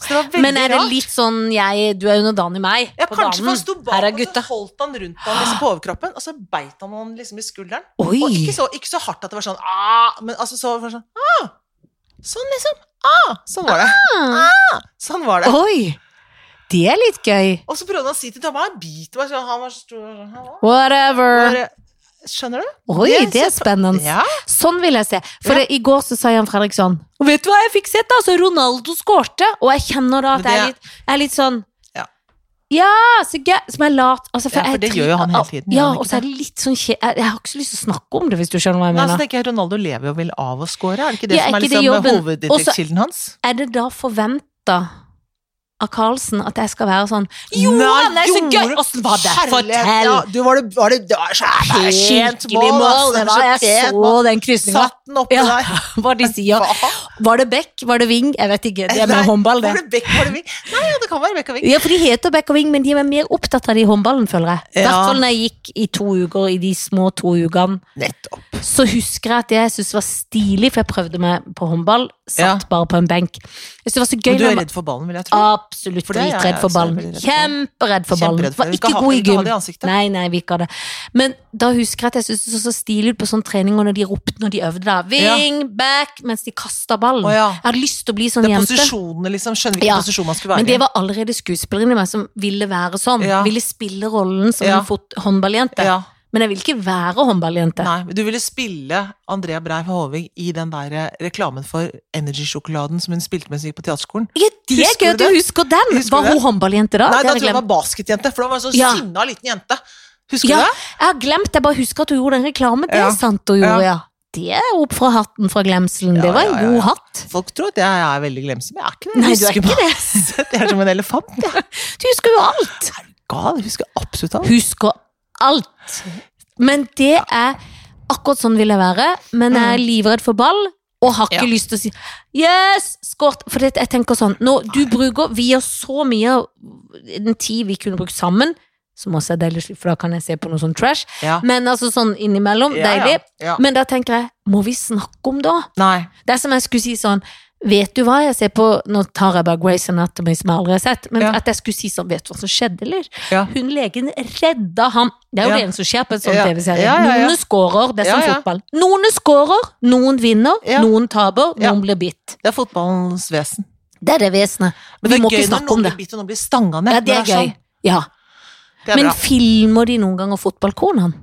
[SPEAKER 1] Så det var veldig
[SPEAKER 2] Men er det
[SPEAKER 1] rart.
[SPEAKER 2] litt sånn jeg, du er underdanig meg
[SPEAKER 1] Ja,
[SPEAKER 2] på
[SPEAKER 1] kanskje for han
[SPEAKER 2] damen?
[SPEAKER 1] sto
[SPEAKER 2] Her
[SPEAKER 1] bak,
[SPEAKER 2] er
[SPEAKER 1] og så
[SPEAKER 2] gutta.
[SPEAKER 1] holdt han rundt han liksom på overkroppen, og så beit han han liksom i skulderen.
[SPEAKER 2] Oi!
[SPEAKER 1] Og ikke så, ikke så hardt at det var sånn, ah, men altså så var det sånn, ah, sånn liksom, ah, sånn var det.
[SPEAKER 2] Ah.
[SPEAKER 1] Sånn var det.
[SPEAKER 2] Oi! Det er litt gøy.
[SPEAKER 1] Og så prøvde han å si til dama, han biter meg, sånn, han var stor, sånn, han var-
[SPEAKER 2] Whatever.
[SPEAKER 1] Bare- Skjønner du?
[SPEAKER 2] Oi,
[SPEAKER 1] det-
[SPEAKER 2] det er spennende.
[SPEAKER 1] Ja.
[SPEAKER 2] Sånn vil jeg se. For
[SPEAKER 1] Ja.
[SPEAKER 2] det, i går så sa Jan Fredrik sånn Og vet du hva jeg fikk sett, da? Så Ronaldo skårte. Og jeg kjenner da at
[SPEAKER 1] Men
[SPEAKER 2] jeg
[SPEAKER 1] det-
[SPEAKER 2] er litt, jeg er litt sånn
[SPEAKER 1] Ja.
[SPEAKER 2] Ja, så gøy. Som er lat. Altså,
[SPEAKER 1] Ja, for
[SPEAKER 2] jeg
[SPEAKER 1] det
[SPEAKER 2] tri-
[SPEAKER 1] gjør jo han hele tiden,
[SPEAKER 2] Ja,
[SPEAKER 1] gjør han ikke
[SPEAKER 2] og så er det litt sånn kje... Jeg, jeg har ikke så lyst til å snakke om det, hvis du skjønner hva jeg
[SPEAKER 1] Nei, altså, så
[SPEAKER 2] mener.
[SPEAKER 1] tenker jeg Ronaldo lever jo vel av å score, er det ikke det
[SPEAKER 2] Ja,
[SPEAKER 1] som
[SPEAKER 2] er
[SPEAKER 1] er
[SPEAKER 2] ikke det
[SPEAKER 1] liksom
[SPEAKER 2] jobben?
[SPEAKER 1] hovedinntektskilden hans?
[SPEAKER 2] Er det da forventa av Carlsen at jeg skal være sånn Jo,
[SPEAKER 1] Nei,
[SPEAKER 2] han er så
[SPEAKER 1] gjorde-
[SPEAKER 2] gøy! Åssen var det?
[SPEAKER 1] Herlighet,
[SPEAKER 2] Fortell!
[SPEAKER 1] Ja, du var det, var det, det var så pent
[SPEAKER 2] Skikkelig mål! Det var, jeg så den krysninga.
[SPEAKER 1] Satt den oppe
[SPEAKER 2] Ja,
[SPEAKER 1] der.
[SPEAKER 2] Hva de sier.
[SPEAKER 1] Faen.
[SPEAKER 2] Var det bekk? Var det ving? Jeg vet ikke. Det er
[SPEAKER 1] Nei,
[SPEAKER 2] med håndball, det.
[SPEAKER 1] Var det Beck, var det Ving? Nei, ja, det kan være Beck og Ving.
[SPEAKER 2] Ja, for de heter bekk og ving, men de er mer opptatt av det i håndballen, føler jeg. I
[SPEAKER 1] Ja.
[SPEAKER 2] hvert fall når jeg gikk i to uker, i de små to ukene.
[SPEAKER 1] Nettopp.
[SPEAKER 2] Så husker jeg at det jeg syntes var stilig, for jeg prøvde meg på håndball, satt bare på en benk. Jeg synes det var så
[SPEAKER 1] Du
[SPEAKER 2] gøy. Ah,
[SPEAKER 1] er
[SPEAKER 2] når man-
[SPEAKER 1] redd for ballen, vil jeg tro.
[SPEAKER 2] Absolutt
[SPEAKER 1] For det er jeg
[SPEAKER 2] dritredd for
[SPEAKER 1] også
[SPEAKER 2] ballen.
[SPEAKER 1] veldig redd for.
[SPEAKER 2] Kjemperedd for ballen.
[SPEAKER 1] Kjemperedd for
[SPEAKER 2] Var
[SPEAKER 1] det. Vi
[SPEAKER 2] ikke
[SPEAKER 1] skal ha-
[SPEAKER 2] god i
[SPEAKER 1] vi skal ha
[SPEAKER 2] gym.
[SPEAKER 1] det i ansiktet.
[SPEAKER 2] Nei, nei, vi ikke hadde. Men da husker jeg at jeg syntes det så så stilig ut på sånn trening, og når de ropte når de øvde, da. Ving, back, mens de kasta ballen.
[SPEAKER 1] Å ja.
[SPEAKER 2] Jeg hadde lyst til å bli sånn
[SPEAKER 1] Det er
[SPEAKER 2] jente.
[SPEAKER 1] posisjonene, liksom. Skjønner hvilken
[SPEAKER 2] Ja.
[SPEAKER 1] posisjon man skulle
[SPEAKER 2] Men
[SPEAKER 1] være
[SPEAKER 2] det var allerede skuespilleren i meg som ville være sånn.
[SPEAKER 1] Ja.
[SPEAKER 2] Ville spille rollen som
[SPEAKER 1] Ja.
[SPEAKER 2] en fot- håndballjente.
[SPEAKER 1] Ja.
[SPEAKER 2] Men jeg vil ikke være håndballjente.
[SPEAKER 1] Nei, men du ville spille Andrea Breif Håvig i den der eh, reklamen for Energy-sjokoladen som hun spilte mens hun gikk på teaterskolen.
[SPEAKER 2] Ja, det er
[SPEAKER 1] Husker
[SPEAKER 2] gøy
[SPEAKER 1] du
[SPEAKER 2] at du
[SPEAKER 1] det?
[SPEAKER 2] husker den!
[SPEAKER 1] Husker
[SPEAKER 2] var
[SPEAKER 1] du
[SPEAKER 2] hun håndballjente da?
[SPEAKER 1] Nei, da tror
[SPEAKER 2] Det har
[SPEAKER 1] jeg hun
[SPEAKER 2] jeg glemt.
[SPEAKER 1] var basketjente, for hun var en sånn
[SPEAKER 2] Ja.
[SPEAKER 1] sinna liten jente. Husker
[SPEAKER 2] Ja,
[SPEAKER 1] du det?
[SPEAKER 2] jeg har glemt, jeg bare husker at hun gjorde den reklamen. Det
[SPEAKER 1] Ja.
[SPEAKER 2] er sant hun gjorde, ja. Det er opp fra hatten fra glemselen.
[SPEAKER 1] Ja,
[SPEAKER 2] Det var en
[SPEAKER 1] ja, ja,
[SPEAKER 2] god
[SPEAKER 1] ja.
[SPEAKER 2] hatt.
[SPEAKER 1] Folk tror at jeg er veldig glemsom. Jeg er ikke det.
[SPEAKER 2] Nei,
[SPEAKER 1] Jeg
[SPEAKER 2] du er
[SPEAKER 1] husker
[SPEAKER 2] ikke det.
[SPEAKER 1] masse. Jeg er som en elefant. Jeg
[SPEAKER 2] Du husker jo alt.
[SPEAKER 1] er du gal. Jeg husker absolutt alt.
[SPEAKER 2] Husker alt. Men det er akkurat sånn vil jeg være. Men jeg er livredd for ball. Og har ikke
[SPEAKER 1] Mm. Ja.
[SPEAKER 2] lyst til å si 'yes, skåret'. For det, jeg tenker sånn nå, Du bruker Vi gjør så mye av den tid vi kunne brukt sammen, som også er deilig, for da kan jeg se på noe sånn trash.
[SPEAKER 1] Ja.
[SPEAKER 2] Men altså sånn innimellom.
[SPEAKER 1] Ja, ja,
[SPEAKER 2] Deilig.
[SPEAKER 1] ja.
[SPEAKER 2] Men da tenker jeg Må vi snakke om det?
[SPEAKER 1] Nei.
[SPEAKER 2] Det er som jeg skulle si sånn Vet du hva jeg ser på Nå tar jeg bare Grey's Anatomy som jeg aldri har sett Men
[SPEAKER 1] Ja.
[SPEAKER 2] at jeg skulle si sånn Vet du hva som skjedde eller?
[SPEAKER 1] Ja.
[SPEAKER 2] Hun legen redda han Det er jo
[SPEAKER 1] Ja.
[SPEAKER 2] det eneste som skjer på en sånn
[SPEAKER 1] Ja.
[SPEAKER 2] tv-serie
[SPEAKER 1] Ja, ja, ja.
[SPEAKER 2] Noen skårer, det er
[SPEAKER 1] Ja,
[SPEAKER 2] som
[SPEAKER 1] ja.
[SPEAKER 2] fotball Noen skårer, noen vinner
[SPEAKER 1] Ja.
[SPEAKER 2] Noen taber,
[SPEAKER 1] Ja.
[SPEAKER 2] noen blir bitt
[SPEAKER 1] Det er fotballens vesen.
[SPEAKER 2] Det er det vesenet
[SPEAKER 1] Men det
[SPEAKER 2] Vi
[SPEAKER 1] er
[SPEAKER 2] må
[SPEAKER 1] gøy
[SPEAKER 2] ikke
[SPEAKER 1] når
[SPEAKER 2] snakke
[SPEAKER 1] noen
[SPEAKER 2] om det
[SPEAKER 1] blir bitt og noen blir stanga ned.
[SPEAKER 2] Ja, det er gøy
[SPEAKER 1] Sånn.
[SPEAKER 2] Ja,
[SPEAKER 1] Det er
[SPEAKER 2] men
[SPEAKER 1] bra.
[SPEAKER 2] filmer de noen ganger fotballkornene?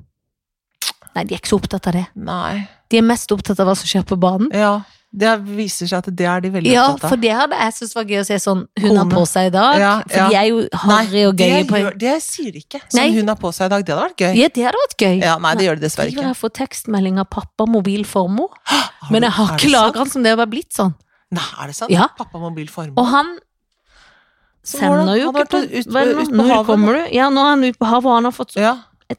[SPEAKER 2] Nei, de er ikke så opptatt av det
[SPEAKER 1] Nei.
[SPEAKER 2] De er mest opptatt av hva som skjer på banen
[SPEAKER 1] Ja. Det viser seg at det er de veldig
[SPEAKER 2] Ja,
[SPEAKER 1] opptatt
[SPEAKER 2] for
[SPEAKER 1] av.
[SPEAKER 2] det hadde jeg syntes var gøy å se sånn Hun har
[SPEAKER 1] Kone.
[SPEAKER 2] på seg i dag
[SPEAKER 1] Ja,
[SPEAKER 2] For de er jo harry og
[SPEAKER 1] det,
[SPEAKER 2] gøye på
[SPEAKER 1] gjør, det sier de ikke. Som
[SPEAKER 2] Nei.
[SPEAKER 1] hun har på seg i dag. Det hadde vært gøy.
[SPEAKER 2] Ja, det hadde vært gøy.
[SPEAKER 1] Ja, nei, det gjør de dessverre
[SPEAKER 2] Driver
[SPEAKER 1] ikke.
[SPEAKER 2] jeg får tekstmelding av pappa, mobil, formor.
[SPEAKER 1] Har
[SPEAKER 2] Men
[SPEAKER 1] du-
[SPEAKER 2] jeg har
[SPEAKER 1] er
[SPEAKER 2] ikke
[SPEAKER 1] det sant?
[SPEAKER 2] lagra den som det har bare blitt sånn.
[SPEAKER 1] Nei, er det sant?
[SPEAKER 2] Ja.
[SPEAKER 1] Pappa mobil
[SPEAKER 2] Og
[SPEAKER 1] formue.
[SPEAKER 2] han
[SPEAKER 1] Så hvor har
[SPEAKER 2] sender jo
[SPEAKER 1] han- han
[SPEAKER 2] ikke
[SPEAKER 1] har
[SPEAKER 2] på
[SPEAKER 1] vært ut-
[SPEAKER 2] Vel, nå-
[SPEAKER 1] ut på
[SPEAKER 2] Nå
[SPEAKER 1] havet,
[SPEAKER 2] kommer du. Ja, nå er han ute på havet, og han har fått
[SPEAKER 1] Ja.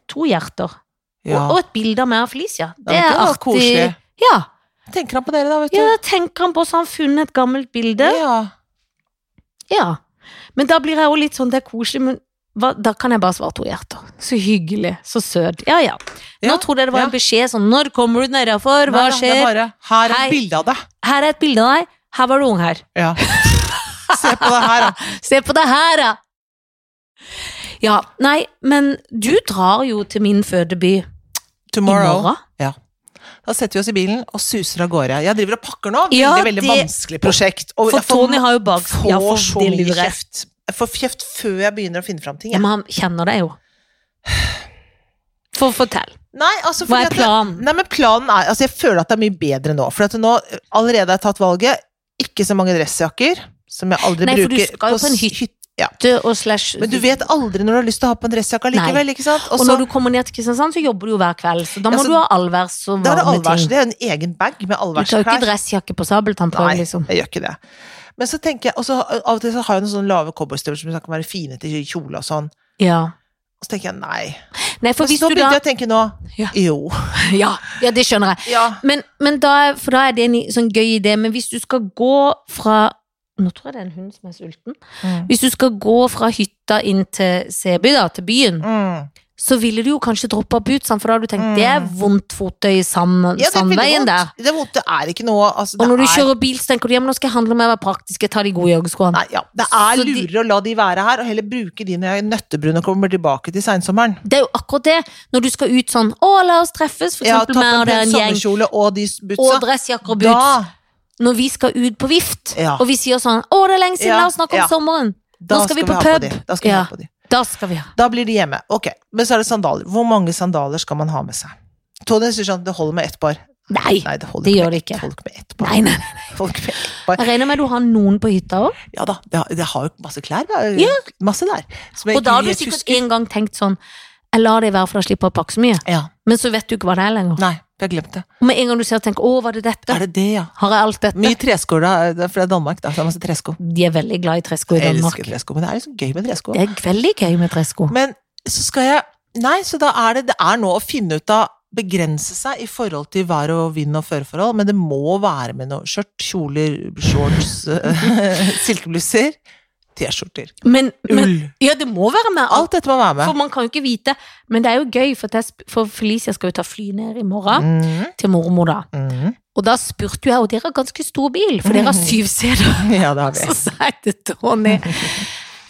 [SPEAKER 2] to hjerter. Og,
[SPEAKER 1] ja.
[SPEAKER 2] og et bilde av meg og Felicia. Det
[SPEAKER 1] men
[SPEAKER 2] er
[SPEAKER 1] var
[SPEAKER 2] artig.
[SPEAKER 1] koselig.
[SPEAKER 2] Ja.
[SPEAKER 1] Tenker han på dere da, vet du?
[SPEAKER 2] ja, da tenker han på så har han funnet et gammelt bilde.
[SPEAKER 1] Ja.
[SPEAKER 2] Ja. Men da blir jeg jo litt sånn, det er koselig, men hva, da kan jeg bare svare to hjerter. Så hyggelig. Så søt. Ja, ja.
[SPEAKER 1] Ja,
[SPEAKER 2] Nå trodde jeg det var
[SPEAKER 1] ja.
[SPEAKER 2] en beskjed sånn, når kommer du nedafor,
[SPEAKER 1] Nei
[SPEAKER 2] hva
[SPEAKER 1] da, Det
[SPEAKER 2] skjer?
[SPEAKER 1] er bare, her er
[SPEAKER 2] Hei.
[SPEAKER 1] et bilde av deg.
[SPEAKER 2] Her er et bilde av deg. Her var du ung her.
[SPEAKER 1] Ja. Se på det her, da.
[SPEAKER 2] Se på det her, da! Ja, nei, men du drar jo til min fødeby i
[SPEAKER 1] Tomorrow.
[SPEAKER 2] morgen.
[SPEAKER 1] Da setter vi oss i bilen og suser av gårde. Jeg driver og pakker nå. Veldig,
[SPEAKER 2] Ja,
[SPEAKER 1] veldig
[SPEAKER 2] det-
[SPEAKER 1] vanskelig prosjekt. Og
[SPEAKER 2] For
[SPEAKER 1] jeg får-
[SPEAKER 2] Tony har jo bak
[SPEAKER 1] får
[SPEAKER 2] Ja, for
[SPEAKER 1] så
[SPEAKER 2] det
[SPEAKER 1] mye
[SPEAKER 2] lurer jeg.
[SPEAKER 1] kjeft. Jeg får kjeft før jeg begynner å finne fram ting.
[SPEAKER 2] Ja,
[SPEAKER 1] Jeg.
[SPEAKER 2] Men han kjenner deg jo. For fortell.
[SPEAKER 1] Nei, altså,
[SPEAKER 2] Hva
[SPEAKER 1] fordi
[SPEAKER 2] er
[SPEAKER 1] at-
[SPEAKER 2] planen?
[SPEAKER 1] Nei, men planen er Altså, jeg føler at det er mye bedre nå. For at nå eh, allerede har jeg tatt valget. Ikke så mange dressjakker, som jeg aldri
[SPEAKER 2] Nei, for du
[SPEAKER 1] bruker.
[SPEAKER 2] skal jo på en
[SPEAKER 1] s-
[SPEAKER 2] hytte.
[SPEAKER 1] Ja.
[SPEAKER 2] Død og slash
[SPEAKER 1] Men du vet aldri når du har lyst til å ha på en dressjakke likevel, ikke sant?
[SPEAKER 2] Og
[SPEAKER 1] Og så
[SPEAKER 2] når du kommer ned til Kristiansand, så jobber du jo hver kveld. Så da må
[SPEAKER 1] Ja, så-
[SPEAKER 2] du ha allværs og
[SPEAKER 1] da er det
[SPEAKER 2] varme
[SPEAKER 1] allværs.
[SPEAKER 2] ting.
[SPEAKER 1] Det er en egen bag med
[SPEAKER 2] Du tar jo ikke
[SPEAKER 1] allværsklær.
[SPEAKER 2] dressjakke på sabeltannprøven,
[SPEAKER 1] Nei,
[SPEAKER 2] liksom.
[SPEAKER 1] jeg gjør ikke det. Men så tenker jeg, og så av og til så har jeg noen sånne lave cowboystøvler som kan være fine til kjole og sånn.
[SPEAKER 2] Ja.
[SPEAKER 1] Og så tenker jeg nei.
[SPEAKER 2] Nei, for
[SPEAKER 1] Men
[SPEAKER 2] hvis
[SPEAKER 1] så
[SPEAKER 2] du
[SPEAKER 1] begynte
[SPEAKER 2] da
[SPEAKER 1] jeg å tenke nå.
[SPEAKER 2] Ja.
[SPEAKER 1] Jo.
[SPEAKER 2] ja, ja, det skjønner jeg.
[SPEAKER 1] Ja.
[SPEAKER 2] Men, men da, for da er det en sånn gøy idé. Men hvis du skal gå fra Nå tror jeg det er en hund som er sulten.
[SPEAKER 1] Mm.
[SPEAKER 2] Hvis du skal gå fra hytta inn til Seby, da, til byen,
[SPEAKER 1] Mm.
[SPEAKER 2] så ville du jo kanskje droppe bootsene, for da har du
[SPEAKER 1] Mm.
[SPEAKER 2] tenkt det er vondt fottøy i sand,
[SPEAKER 1] Ja, det er veldig
[SPEAKER 2] sandveien
[SPEAKER 1] vondt.
[SPEAKER 2] der.
[SPEAKER 1] Det er vondt. Det er ikke noe altså,
[SPEAKER 2] Og
[SPEAKER 1] det
[SPEAKER 2] når du
[SPEAKER 1] er-
[SPEAKER 2] kjører bil, så tenker du ja, men nå skal jeg handle med å være praktisk, jeg tar de gode joggeskoene.
[SPEAKER 1] Nei, ja. Det er
[SPEAKER 2] Så de-
[SPEAKER 1] lurere å la de være her, og heller bruke de når jeg er nøttebrun og kommer tilbake til seinsommeren.
[SPEAKER 2] Det er jo akkurat det, når du skal ut sånn Å, la oss treffes, for
[SPEAKER 1] Ja, tatt
[SPEAKER 2] eksempel meg og
[SPEAKER 1] en
[SPEAKER 2] det er
[SPEAKER 1] pen
[SPEAKER 2] en gjeng.
[SPEAKER 1] sommerkjole og de
[SPEAKER 2] Og
[SPEAKER 1] bootsa.
[SPEAKER 2] dressjakker og boots.
[SPEAKER 1] Da,
[SPEAKER 2] Når vi skal ut på vift,
[SPEAKER 1] Ja.
[SPEAKER 2] og vi sier sånn Å, det er lenge siden,
[SPEAKER 1] Ja,
[SPEAKER 2] la oss snakke om
[SPEAKER 1] ja.
[SPEAKER 2] sommeren.
[SPEAKER 1] da
[SPEAKER 2] Nå skal vi på
[SPEAKER 1] ha
[SPEAKER 2] pub.
[SPEAKER 1] de. Da skal vi
[SPEAKER 2] Ja.
[SPEAKER 1] ha på de.
[SPEAKER 2] Da skal vi ha
[SPEAKER 1] Da blir de hjemme. Ok, men så er det sandaler. Hvor mange sandaler skal man ha med seg? Tony sier sånn, det holder med ett par.
[SPEAKER 2] Nei!
[SPEAKER 1] Nei, det holder
[SPEAKER 2] Det
[SPEAKER 1] ikke
[SPEAKER 2] gjør
[SPEAKER 1] med
[SPEAKER 2] det ikke.
[SPEAKER 1] ett- Folk med ett par.
[SPEAKER 2] Nei, nei.
[SPEAKER 1] Folk med ett par.
[SPEAKER 2] Jeg regner med du har noen på hytta òg.
[SPEAKER 1] Ja da, det har, det har jo masse klær. da. Masse der. Som jeg
[SPEAKER 2] Og da har
[SPEAKER 1] ikke
[SPEAKER 2] du
[SPEAKER 1] helt
[SPEAKER 2] sikkert
[SPEAKER 1] husker.
[SPEAKER 2] en gang tenkt sånn Jeg lar det være, for da slipper jeg å pakke så mye.
[SPEAKER 1] Ja,
[SPEAKER 2] Men så vet du ikke hva det er lenger.
[SPEAKER 1] nei, jeg har glemt det.
[SPEAKER 2] Og med en gang du ser og tenker 'Å, var det dette?'
[SPEAKER 1] Er det det, ja?
[SPEAKER 2] Har jeg alt dette?
[SPEAKER 1] Mye tresko, da, eh, det er- for det er Danmark, da. Så det er masse tresko.
[SPEAKER 2] De er veldig glad i tresko i
[SPEAKER 1] Jeg
[SPEAKER 2] Danmark.
[SPEAKER 1] elsker tresko, men det er liksom gøy med tresko.
[SPEAKER 2] Det er veldig gøy med tresko.
[SPEAKER 1] Men så skal jeg Nei, så da er det Det er nå å finne ut av Begrense seg i forhold til vær og vind og føreforhold, men det må være med noe skjørt, kjoler, shorts, eh, silkeblusser, T-skjorter,
[SPEAKER 2] Men, men
[SPEAKER 1] ull.
[SPEAKER 2] Ja, det må være med alt.
[SPEAKER 1] Alt dette må være
[SPEAKER 2] For
[SPEAKER 1] med.
[SPEAKER 2] man kan jo ikke vite. Men det er jo gøy, for, at jeg sp- for Felicia skal jo ta fly ned i morgen.
[SPEAKER 1] Mhm,
[SPEAKER 2] Til mormor, da.
[SPEAKER 1] mhm.
[SPEAKER 2] Og da spurte jo jeg, og dere har ganske stor bil, for dere har
[SPEAKER 1] Mm.
[SPEAKER 2] syv seter.
[SPEAKER 1] Ja, det har vi.
[SPEAKER 2] Så sa jeg til Tony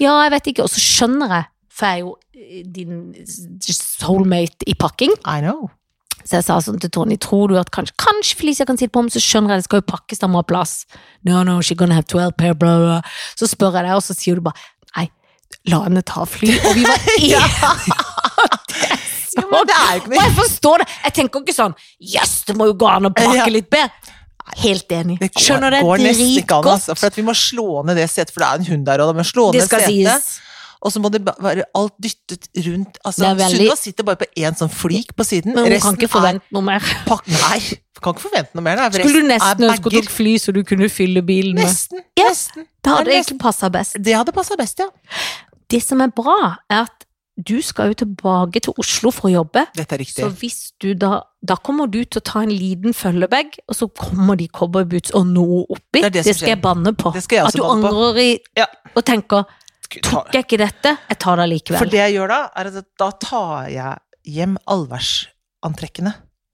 [SPEAKER 2] Ja, jeg vet ikke. Og så skjønner jeg, for jeg er jo eh, din soulmate i pakking.
[SPEAKER 1] I know.
[SPEAKER 2] Så jeg sa sånn til Tony, tror du at kanskje, kanskje Felicia kan sitte på om, så skjønner jeg det skal jo pakkes, da må ha plass. No, no, she gonna have 12 pair, blah, blah. Så spør jeg deg, og så sier du bare, nei, la henne ta fly. Og vi var enige.
[SPEAKER 1] Ja, men det er jo ikke
[SPEAKER 2] Og
[SPEAKER 1] noe
[SPEAKER 2] jeg forstår det. Jeg tenker ikke sånn, jøss, det må jo gå an å pakke
[SPEAKER 1] Ja.
[SPEAKER 2] litt bedre. Helt enig.
[SPEAKER 1] Det går,
[SPEAKER 2] Skjønner det
[SPEAKER 1] går nesten ikke an,
[SPEAKER 2] dritgodt.
[SPEAKER 1] altså, for at vi må slå ned det setet, for det er en hund der òg, men slå
[SPEAKER 2] Det
[SPEAKER 1] ned
[SPEAKER 2] skal
[SPEAKER 1] setet,
[SPEAKER 2] sies.
[SPEAKER 1] og så må det ba- være alt dyttet rundt. Altså,
[SPEAKER 2] Det er veldig-
[SPEAKER 1] Sunniva sitter bare på én sånn flik på siden,
[SPEAKER 2] Men hun kan ikke
[SPEAKER 1] er
[SPEAKER 2] forvente noe mer.
[SPEAKER 1] Pakk, nei, jeg kan ikke forvente noe mer. Nei. for
[SPEAKER 2] Skulle
[SPEAKER 1] resten
[SPEAKER 2] du nesten
[SPEAKER 1] er
[SPEAKER 2] ønske du
[SPEAKER 1] bagger.
[SPEAKER 2] tok fly, så du kunne fylle bilen med?
[SPEAKER 1] Nesten.
[SPEAKER 2] Ja.
[SPEAKER 1] nesten.
[SPEAKER 2] Da hadde det
[SPEAKER 1] nesten.
[SPEAKER 2] egentlig passet best.
[SPEAKER 1] Det hadde passa best, ja.
[SPEAKER 2] Det som er bra, er at du skal jo tilbake til Oslo for å jobbe.
[SPEAKER 1] Dette er riktig.
[SPEAKER 2] Så hvis du da Da kommer du til å ta en liten følgebag, og så kommer de cowboyboots og noe oppi.
[SPEAKER 1] Det er
[SPEAKER 2] Det,
[SPEAKER 1] det som
[SPEAKER 2] skal jeg
[SPEAKER 1] skjer.
[SPEAKER 2] banne på.
[SPEAKER 1] Det skal jeg
[SPEAKER 2] At du
[SPEAKER 1] også banne på.
[SPEAKER 2] angrer i
[SPEAKER 1] Ja.
[SPEAKER 2] og tenker
[SPEAKER 1] Gud, ta-
[SPEAKER 2] 'tok jeg ikke dette', jeg tar det likevel.
[SPEAKER 1] For det jeg gjør da, er at da tar jeg hjem allværsantrekkene.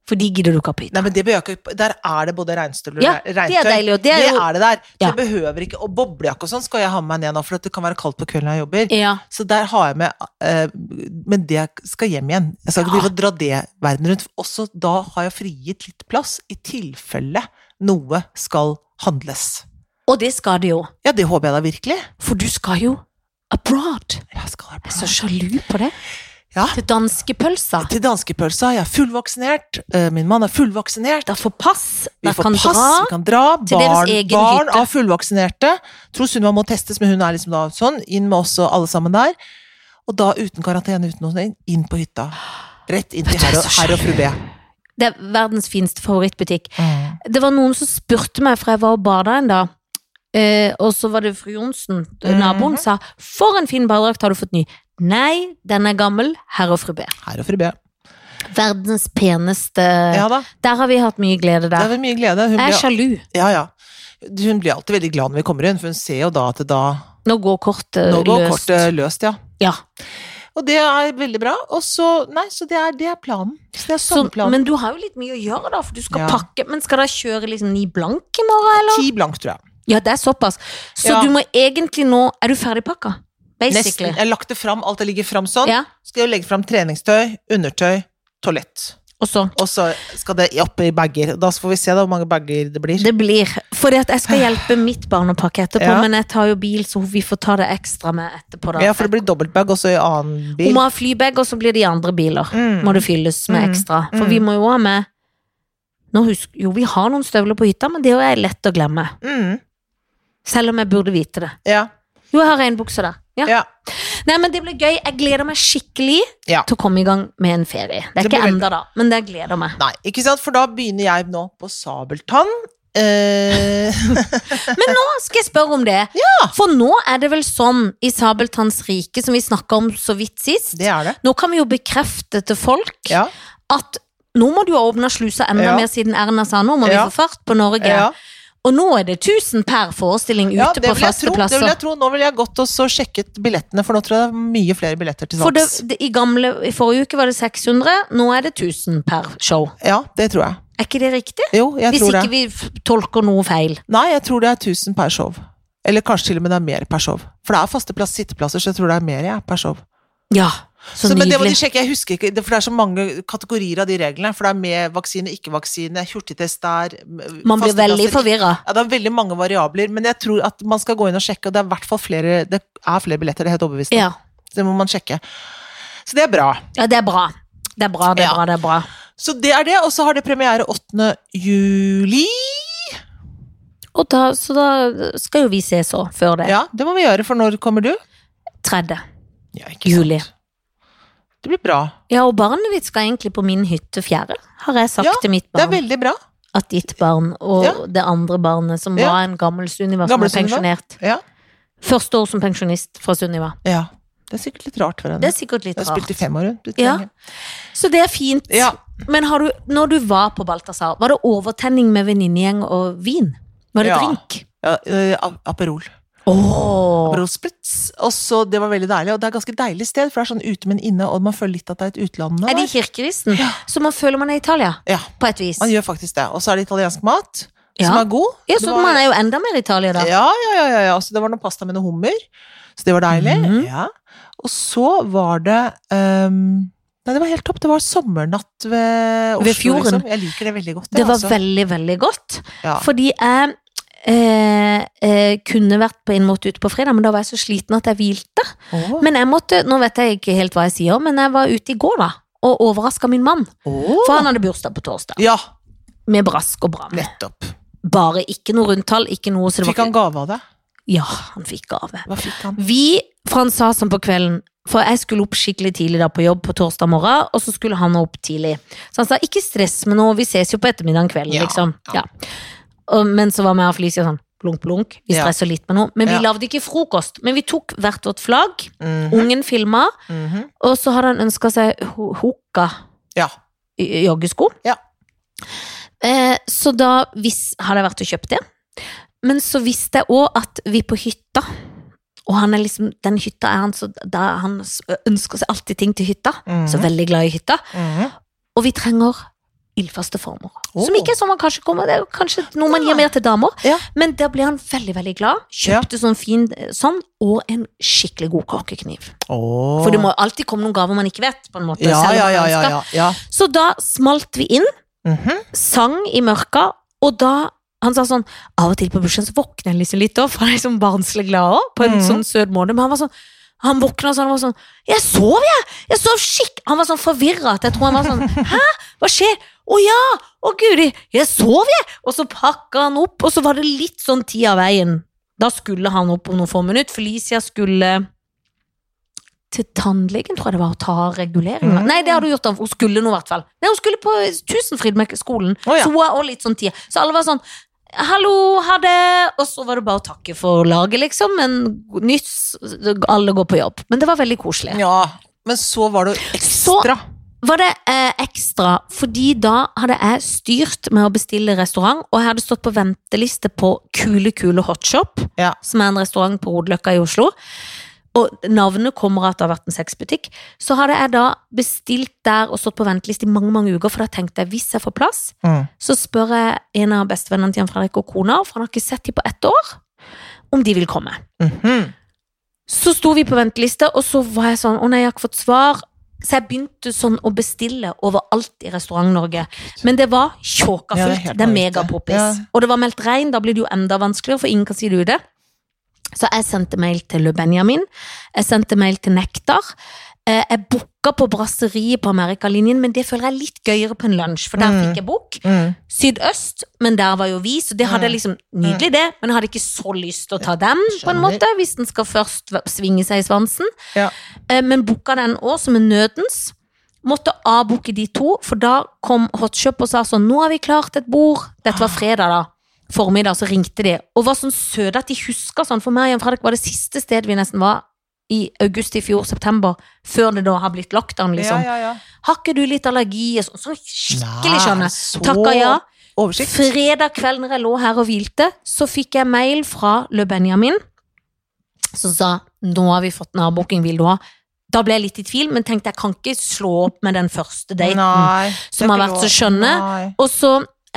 [SPEAKER 2] For de gidder du ikke ha på hytta.
[SPEAKER 1] Nei, men det behøver jeg ikke Der er det både regnstøvler
[SPEAKER 2] Ja,
[SPEAKER 1] og
[SPEAKER 2] Det er
[SPEAKER 1] regntøy.
[SPEAKER 2] deilig, og det er jo
[SPEAKER 1] det der. Så
[SPEAKER 2] Ja.
[SPEAKER 1] jeg behøver ikke Og boblejakke og sånn skal jeg ha med meg ned nå, for at det kan være kaldt på kvelden når jeg jobber.
[SPEAKER 2] ja,
[SPEAKER 1] Så der har jeg med eh, Men det skal hjem igjen. Jeg skal ikke
[SPEAKER 2] Ja.
[SPEAKER 1] drive og dra det verden rundt. Også da har jeg frigitt litt plass, i tilfelle noe skal handles.
[SPEAKER 2] Og det skal det jo.
[SPEAKER 1] Ja, det håper jeg da virkelig.
[SPEAKER 2] For du skal jo abroad.
[SPEAKER 1] Jeg skal ha
[SPEAKER 2] Jeg er så sjalu på det.
[SPEAKER 1] Ja.
[SPEAKER 2] Til danskepølsa.
[SPEAKER 1] Til danskepølsa. Jeg er fullvaksinert. Eh, Min mann er fullvaksinert.
[SPEAKER 2] Da får pass.
[SPEAKER 1] Vi
[SPEAKER 2] Da
[SPEAKER 1] får
[SPEAKER 2] kan
[SPEAKER 1] pass,
[SPEAKER 2] dra.
[SPEAKER 1] vi kan dra.
[SPEAKER 2] til deres
[SPEAKER 1] Barn,
[SPEAKER 2] egen
[SPEAKER 1] barn
[SPEAKER 2] hytte.
[SPEAKER 1] av fullvaksinerte. Tror Sunniva må testes, men hun er liksom da sånn. Inn med oss og alle sammen der. Og da uten karantene, uten noe sånt. Inn på hytta. Rett inn til
[SPEAKER 2] Vet du, jeg
[SPEAKER 1] herr
[SPEAKER 2] er
[SPEAKER 1] og,
[SPEAKER 2] så
[SPEAKER 1] herr og fru B.
[SPEAKER 2] Det er verdens fineste favorittbutikk.
[SPEAKER 1] Mm.
[SPEAKER 2] Det var noen som spurte meg, for jeg var og bada en dag. Eh, og så var det fru Johnsen, eh, naboen,
[SPEAKER 1] Mhm.
[SPEAKER 2] sa 'For en fin badedrakt, har du fått ny?' Nei, den er gammel. Herr og fru B.
[SPEAKER 1] Herr og fru B.
[SPEAKER 2] Verdens peneste
[SPEAKER 1] Ja da.
[SPEAKER 2] Der har vi hatt mye glede
[SPEAKER 1] Det
[SPEAKER 2] der.
[SPEAKER 1] er vel mye glede. Hun
[SPEAKER 2] Jeg er
[SPEAKER 1] blir,
[SPEAKER 2] sjalu.
[SPEAKER 1] ja, ja. hun blir alltid veldig glad når vi kommer inn, for hun ser jo da at det da
[SPEAKER 2] Nå går kortet
[SPEAKER 1] Nå går
[SPEAKER 2] løst.
[SPEAKER 1] kortet løst, ja.
[SPEAKER 2] Ja.
[SPEAKER 1] Og det er veldig bra. Og så Nei, så det er, det er planen. Så det er
[SPEAKER 2] Så,
[SPEAKER 1] sånn plan.
[SPEAKER 2] men du har jo litt mye å gjøre, da, for du skal
[SPEAKER 1] Ja.
[SPEAKER 2] pakke. Men skal dere kjøre liksom ni blank i morgen, eller?
[SPEAKER 1] Ti blank, tror jeg.
[SPEAKER 2] Ja, det er såpass. Så
[SPEAKER 1] Ja.
[SPEAKER 2] du må egentlig nå Er du ferdigpakka?
[SPEAKER 1] Nesten.
[SPEAKER 2] Basically.
[SPEAKER 1] Jeg har lagt det fram, alt det ligger fram sånn.
[SPEAKER 2] Ja.
[SPEAKER 1] Skal jo legge fram treningstøy, undertøy, toalett.
[SPEAKER 2] Og så
[SPEAKER 1] Og så skal det opp i bager. Da får vi se da hvor mange bager det blir.
[SPEAKER 2] Det blir. For jeg skal hjelpe mitt barn å pakke etterpå,
[SPEAKER 1] Ja.
[SPEAKER 2] men jeg tar jo bil, så vi får ta det ekstra med etterpå. Da.
[SPEAKER 1] Ja, for det blir dobbeltbag også i annen
[SPEAKER 2] Hun
[SPEAKER 1] bil.
[SPEAKER 2] må ha flybag, og så blir det i andre biler.
[SPEAKER 1] Mm.
[SPEAKER 2] Må det fylles med
[SPEAKER 1] Mm.
[SPEAKER 2] ekstra. For
[SPEAKER 1] Mm.
[SPEAKER 2] vi må jo ha med Nå husk, Jo, vi har noen støvler på hytta, men det er jo lett å glemme.
[SPEAKER 1] Mm.
[SPEAKER 2] Selv om jeg burde vite det.
[SPEAKER 1] Ja.
[SPEAKER 2] Jo, jeg har regnbukse der. Ja.
[SPEAKER 1] Ja.
[SPEAKER 2] Nei, men det blir gøy. Jeg gleder meg skikkelig
[SPEAKER 1] Ja.
[SPEAKER 2] til å komme i gang med en ferie. Det er
[SPEAKER 1] Det blir
[SPEAKER 2] ikke
[SPEAKER 1] veldig-
[SPEAKER 2] enda da, men det gleder meg.
[SPEAKER 1] Nei, ikke sant? For da begynner jeg nå på sabeltann. Eh,
[SPEAKER 2] Men nå skal jeg spørre om det. For nå er det vel sånn i Sabeltanns rike, som vi snakka om så vidt sist.
[SPEAKER 1] det er det.
[SPEAKER 2] Nå kan vi jo bekrefte til folk
[SPEAKER 1] Ja.
[SPEAKER 2] at nå må du ha åpna slusa enda
[SPEAKER 1] Ja.
[SPEAKER 2] mer siden Erna sa nå må vi
[SPEAKER 1] Ja.
[SPEAKER 2] få fart på Norge.
[SPEAKER 1] Ja.
[SPEAKER 2] Og nå er det 1000 per forestilling ute
[SPEAKER 1] Ja, det vil
[SPEAKER 2] på
[SPEAKER 1] jeg
[SPEAKER 2] faste
[SPEAKER 1] tro, Det
[SPEAKER 2] plasser.
[SPEAKER 1] vil jeg tro. Nå ville jeg gått og så sjekket billettene, for nå tror jeg det er mye flere billetter til
[SPEAKER 2] For det,
[SPEAKER 1] salgs.
[SPEAKER 2] det, i, gamle, I forrige uke var det 600, nå er det 1000 per show.
[SPEAKER 1] Ja, det tror jeg.
[SPEAKER 2] Er ikke det riktig?
[SPEAKER 1] Jo, jeg
[SPEAKER 2] Hvis
[SPEAKER 1] tror det.
[SPEAKER 2] ikke vi f- tolker noe feil.
[SPEAKER 1] Nei, jeg tror det er 1000 per show. Eller kanskje til og med det er mer per show. For det er faste plass, sitteplasser, så jeg tror det er mer ja, per show.
[SPEAKER 2] Ja, så,
[SPEAKER 1] Så, men det må de
[SPEAKER 2] nydelig.
[SPEAKER 1] sjekke, jeg husker ikke, det- for det er så mange kategorier av de reglene. For det er med vaksine, ikke vaksine, hurtigtest der m-
[SPEAKER 2] Man blir
[SPEAKER 1] faste plasser,
[SPEAKER 2] veldig forvirra.
[SPEAKER 1] Ja, det er veldig mange variabler, men jeg tror at man skal gå inn og sjekke, og det er i hvert fall flere, det er flere billetter, det er helt overbevist. om.
[SPEAKER 2] Ja.
[SPEAKER 1] Så det må man sjekke. Så det er bra.
[SPEAKER 2] ja, det er bra. Det er bra, det er
[SPEAKER 1] Ja.
[SPEAKER 2] bra, det er bra.
[SPEAKER 1] Så det er det, og så har det premiere 8. juli.
[SPEAKER 2] Og da, så da skal jo vi ses òg, før det.
[SPEAKER 1] Ja, det må vi gjøre, for når kommer du?
[SPEAKER 2] 30.
[SPEAKER 1] Ja, ikke
[SPEAKER 2] juli.
[SPEAKER 1] Det blir bra.
[SPEAKER 2] Ja, og barnet mitt skal egentlig på min hytte fjerde, har jeg sagt
[SPEAKER 1] Ja,
[SPEAKER 2] til mitt
[SPEAKER 1] Det er
[SPEAKER 2] barn.
[SPEAKER 1] veldig bra.
[SPEAKER 2] At ditt barn og
[SPEAKER 1] Ja.
[SPEAKER 2] det andre barnet, som
[SPEAKER 1] Ja.
[SPEAKER 2] var en gammel Sunniva som
[SPEAKER 1] Gammel
[SPEAKER 2] er pensjonert.
[SPEAKER 1] Ja,
[SPEAKER 2] Første år som pensjonist fra Sunniva.
[SPEAKER 1] ja. Det er sikkert litt rart for henne.
[SPEAKER 2] Det er sikkert litt
[SPEAKER 1] Jeg har spilt i
[SPEAKER 2] rart.
[SPEAKER 1] fem år, hun. Du
[SPEAKER 2] Ja.
[SPEAKER 1] trenger-
[SPEAKER 2] Så det er fint.
[SPEAKER 1] Ja.
[SPEAKER 2] Men har du, når du var på Balthazar, var det overtenning med venninnegjeng og vin? Var det
[SPEAKER 1] Ja.
[SPEAKER 2] drink?
[SPEAKER 1] ja eh, A- Aperol.
[SPEAKER 2] Åh.
[SPEAKER 1] Aperol Spritz. Og så, det var veldig deilig, og det er ganske deilig sted, for det er sånn ute, men inne, og man føler litt at det er et utland. nå,
[SPEAKER 2] Er det i
[SPEAKER 1] der.
[SPEAKER 2] kirkeristen?
[SPEAKER 1] Ja.
[SPEAKER 2] Så man føler man er i Italia,
[SPEAKER 1] Ja,
[SPEAKER 2] på et vis.
[SPEAKER 1] man gjør faktisk det. Og så er det italiensk mat,
[SPEAKER 2] Ja.
[SPEAKER 1] som er god.
[SPEAKER 2] Ja,
[SPEAKER 1] Det
[SPEAKER 2] så
[SPEAKER 1] var-
[SPEAKER 2] man er jo enda mer i Italia da.
[SPEAKER 1] Ja, ja, ja, ja, ja. Så det var noe pasta med noe hummer. Så det var deilig.
[SPEAKER 2] Mhm.
[SPEAKER 1] Ja. Og så var det ehm, Nei, det var helt topp. Det var sommernatt ved Oslo.
[SPEAKER 2] Ved fjorden.
[SPEAKER 1] Liksom. Jeg liker det veldig godt.
[SPEAKER 2] Det var
[SPEAKER 1] altså.
[SPEAKER 2] veldig, veldig godt.
[SPEAKER 1] Ja.
[SPEAKER 2] Fordi jeg eh, eh, kunne vært på en måte ute på fredag, men da var jeg så sliten at jeg hvilte.
[SPEAKER 1] Åh.
[SPEAKER 2] Men jeg måtte, nå vet jeg ikke helt hva jeg sier, men jeg var ute i går da, og overrasket min mann.
[SPEAKER 1] Åh.
[SPEAKER 2] For han hadde bursdag på torsdag,
[SPEAKER 1] Ja,
[SPEAKER 2] med brask og bram.
[SPEAKER 1] nettopp.
[SPEAKER 2] Bare ikke noe rundtall, ikke noe... så det var
[SPEAKER 1] Fikk han
[SPEAKER 2] ikke-
[SPEAKER 1] gave av det?
[SPEAKER 2] Ja, han fikk gave.
[SPEAKER 1] Hva fikk han?
[SPEAKER 2] Vi, for han sa sånn på kvelden For jeg skulle opp skikkelig tidlig da på jobb på torsdag morgen Og så skulle han opp tidlig Så han sa, ikke stress med noe, vi ses jo på ettermiddagen kvelden
[SPEAKER 1] Ja,
[SPEAKER 2] liksom.
[SPEAKER 1] ja.
[SPEAKER 2] ja. Og, Men så var vi og Felicia sånn Blunk, blunk, vi
[SPEAKER 1] Ja.
[SPEAKER 2] stresser litt med noe Men vi
[SPEAKER 1] Ja.
[SPEAKER 2] lavde ikke frokost, men vi tok hvert vårt flagg
[SPEAKER 1] Mhm,
[SPEAKER 2] Ungen filmet,
[SPEAKER 1] mhm.
[SPEAKER 2] og så hadde han ønsket seg ho- Hokka
[SPEAKER 1] Ja.
[SPEAKER 2] i- joggesko.
[SPEAKER 1] Ja.
[SPEAKER 2] Eh, så da hvis, hadde jeg vært og kjøpt det. Men så visste jeg òg at vi på hytta Og han er liksom, den hytta er han så da Han s- ønsker seg alltid ting til hytta.
[SPEAKER 1] Mhm,
[SPEAKER 2] Så veldig glad i hytta.
[SPEAKER 1] mhm.
[SPEAKER 2] Og vi trenger ildfaste former.
[SPEAKER 1] Åh.
[SPEAKER 2] Som ikke er sånn man kanskje kommer Det er jo kanskje noe man
[SPEAKER 1] Nei.
[SPEAKER 2] gir mer til damer.
[SPEAKER 1] Oh. Ja.
[SPEAKER 2] Men der ble han veldig veldig glad.
[SPEAKER 1] Ja.
[SPEAKER 2] Kjøpte sånn fin eh, sånn, og en skikkelig god kakekniv.
[SPEAKER 1] Åh.
[SPEAKER 2] For det må alltid komme noen gaver man ikke vet. på en måte
[SPEAKER 1] ja,
[SPEAKER 2] selv om
[SPEAKER 1] ja,
[SPEAKER 2] man
[SPEAKER 1] ja, ja,
[SPEAKER 2] ønsker.
[SPEAKER 1] ja, ja.
[SPEAKER 2] Så da smalt vi inn
[SPEAKER 1] Mhm.
[SPEAKER 2] sang i mørka, og da han sa sånn, av og til på bursdagen så våkner jeg liksom litt opp, for han er liksom barnslig glad også, på en
[SPEAKER 1] Mhm.
[SPEAKER 2] sånn sød måte, men han var sånn, han våkna sånn, han var sånn, jeg sov jeg, jeg sov skikk, han var sånn forvirret, at jeg tror han var sånn, hæ, hva skjer? Å ja, å guri, jeg sov jeg, og så pakket han opp, og så var det litt sånn tid av veien, da skulle han opp om noen få minutter, Felicia skulle til tannlegen, tror jeg det var, å ta reguleringer.
[SPEAKER 1] Mhm.
[SPEAKER 2] Nei, det har du gjort, da. hun skulle nå i hvert fall. Nei, hun skulle på Tusenfryd med skolen,
[SPEAKER 1] Å, ja.
[SPEAKER 2] så hun var også litt sånn tid. Så alle var sånn, hallo, ha det, og så var det bare å takke for laget, liksom, men nytt, alle går på jobb. Men det var veldig koselig.
[SPEAKER 1] ja. Men så var det jo ekstra.
[SPEAKER 2] Var det eh, ekstra, fordi da hadde jeg styrt med å bestille restaurant, og jeg hadde stått på venteliste på Kule Kule Hotshop,
[SPEAKER 1] Ja.
[SPEAKER 2] som er en restaurant på Rodeløkka i Oslo. Og navnet kommer av at det har vært en sexbutikk. Så hadde jeg da bestilt der og stått på venteliste i mange mange uker, for da tenkte jeg hvis jeg får plass,
[SPEAKER 1] Mhm.
[SPEAKER 2] så spør jeg en av bestevennene til Jan Fredrik og kona, for han har ikke sett dem på ett år, om de vil komme.
[SPEAKER 1] Mhm.
[SPEAKER 2] Så sto vi på venteliste, og så var jeg sånn Å nei, jeg har ikke fått svar. Så jeg begynte sånn å bestille overalt i Restaurant-Norge. Men det var
[SPEAKER 1] Ja,
[SPEAKER 2] tjåka
[SPEAKER 1] det er
[SPEAKER 2] fullt.
[SPEAKER 1] helt
[SPEAKER 2] det er
[SPEAKER 1] vanvittig.
[SPEAKER 2] megapoppis.
[SPEAKER 1] Ja.
[SPEAKER 2] Og det var meldt regn, da blir det jo enda vanskeligere, for ingen kan si det ute. Så jeg sendte mail til Le Benjamin, jeg sendte mail til Nektar, Eh, Jeg booka på brasseriet på Amerikalinjen, men det føler jeg er litt gøyere på en lunsj, for der
[SPEAKER 1] Mm.
[SPEAKER 2] fikk jeg bok.
[SPEAKER 1] Mm.
[SPEAKER 2] Sydøst, men der var jo vi, så det hadde jeg liksom Nydelig, det, men jeg hadde ikke så lyst til å ta den, på en
[SPEAKER 1] Mm. skjønner.
[SPEAKER 2] måte, hvis den skal først v- svinge seg i svansen.
[SPEAKER 1] Ja.
[SPEAKER 2] Eh, Men booka den òg som en nødens. Måtte avbooke de to, for da kom Hotshop og sa sånn Nå har vi klart et bord. Dette
[SPEAKER 1] Ah.
[SPEAKER 2] var fredag, da. Formiddag, så ringte de. Og var sånn søte at de huska sånn. For meg og Jan Fredrik var det siste stedet vi nesten var i august i fjor, september, før det da har blitt lockdown, liksom.
[SPEAKER 1] Ja, ja, ja.
[SPEAKER 2] Har ikke du litt allergi og sånn? Sånn skikkelig,
[SPEAKER 1] Nei,
[SPEAKER 2] skjønner.
[SPEAKER 1] så
[SPEAKER 2] Takka ja.
[SPEAKER 1] Oversikt.
[SPEAKER 2] Fredag kveld når jeg lå her og hvilte, så fikk jeg mail fra Le Benjamin, som sa nå har vi fått en avbooking, vil du ha? Da ble jeg litt i tvil, men tenkte jeg kan ikke slå opp med den første daten.
[SPEAKER 1] Nei,
[SPEAKER 2] som
[SPEAKER 1] det
[SPEAKER 2] har
[SPEAKER 1] er
[SPEAKER 2] vært
[SPEAKER 1] ikke
[SPEAKER 2] så skjønne.
[SPEAKER 1] lov. Nei.
[SPEAKER 2] Og så,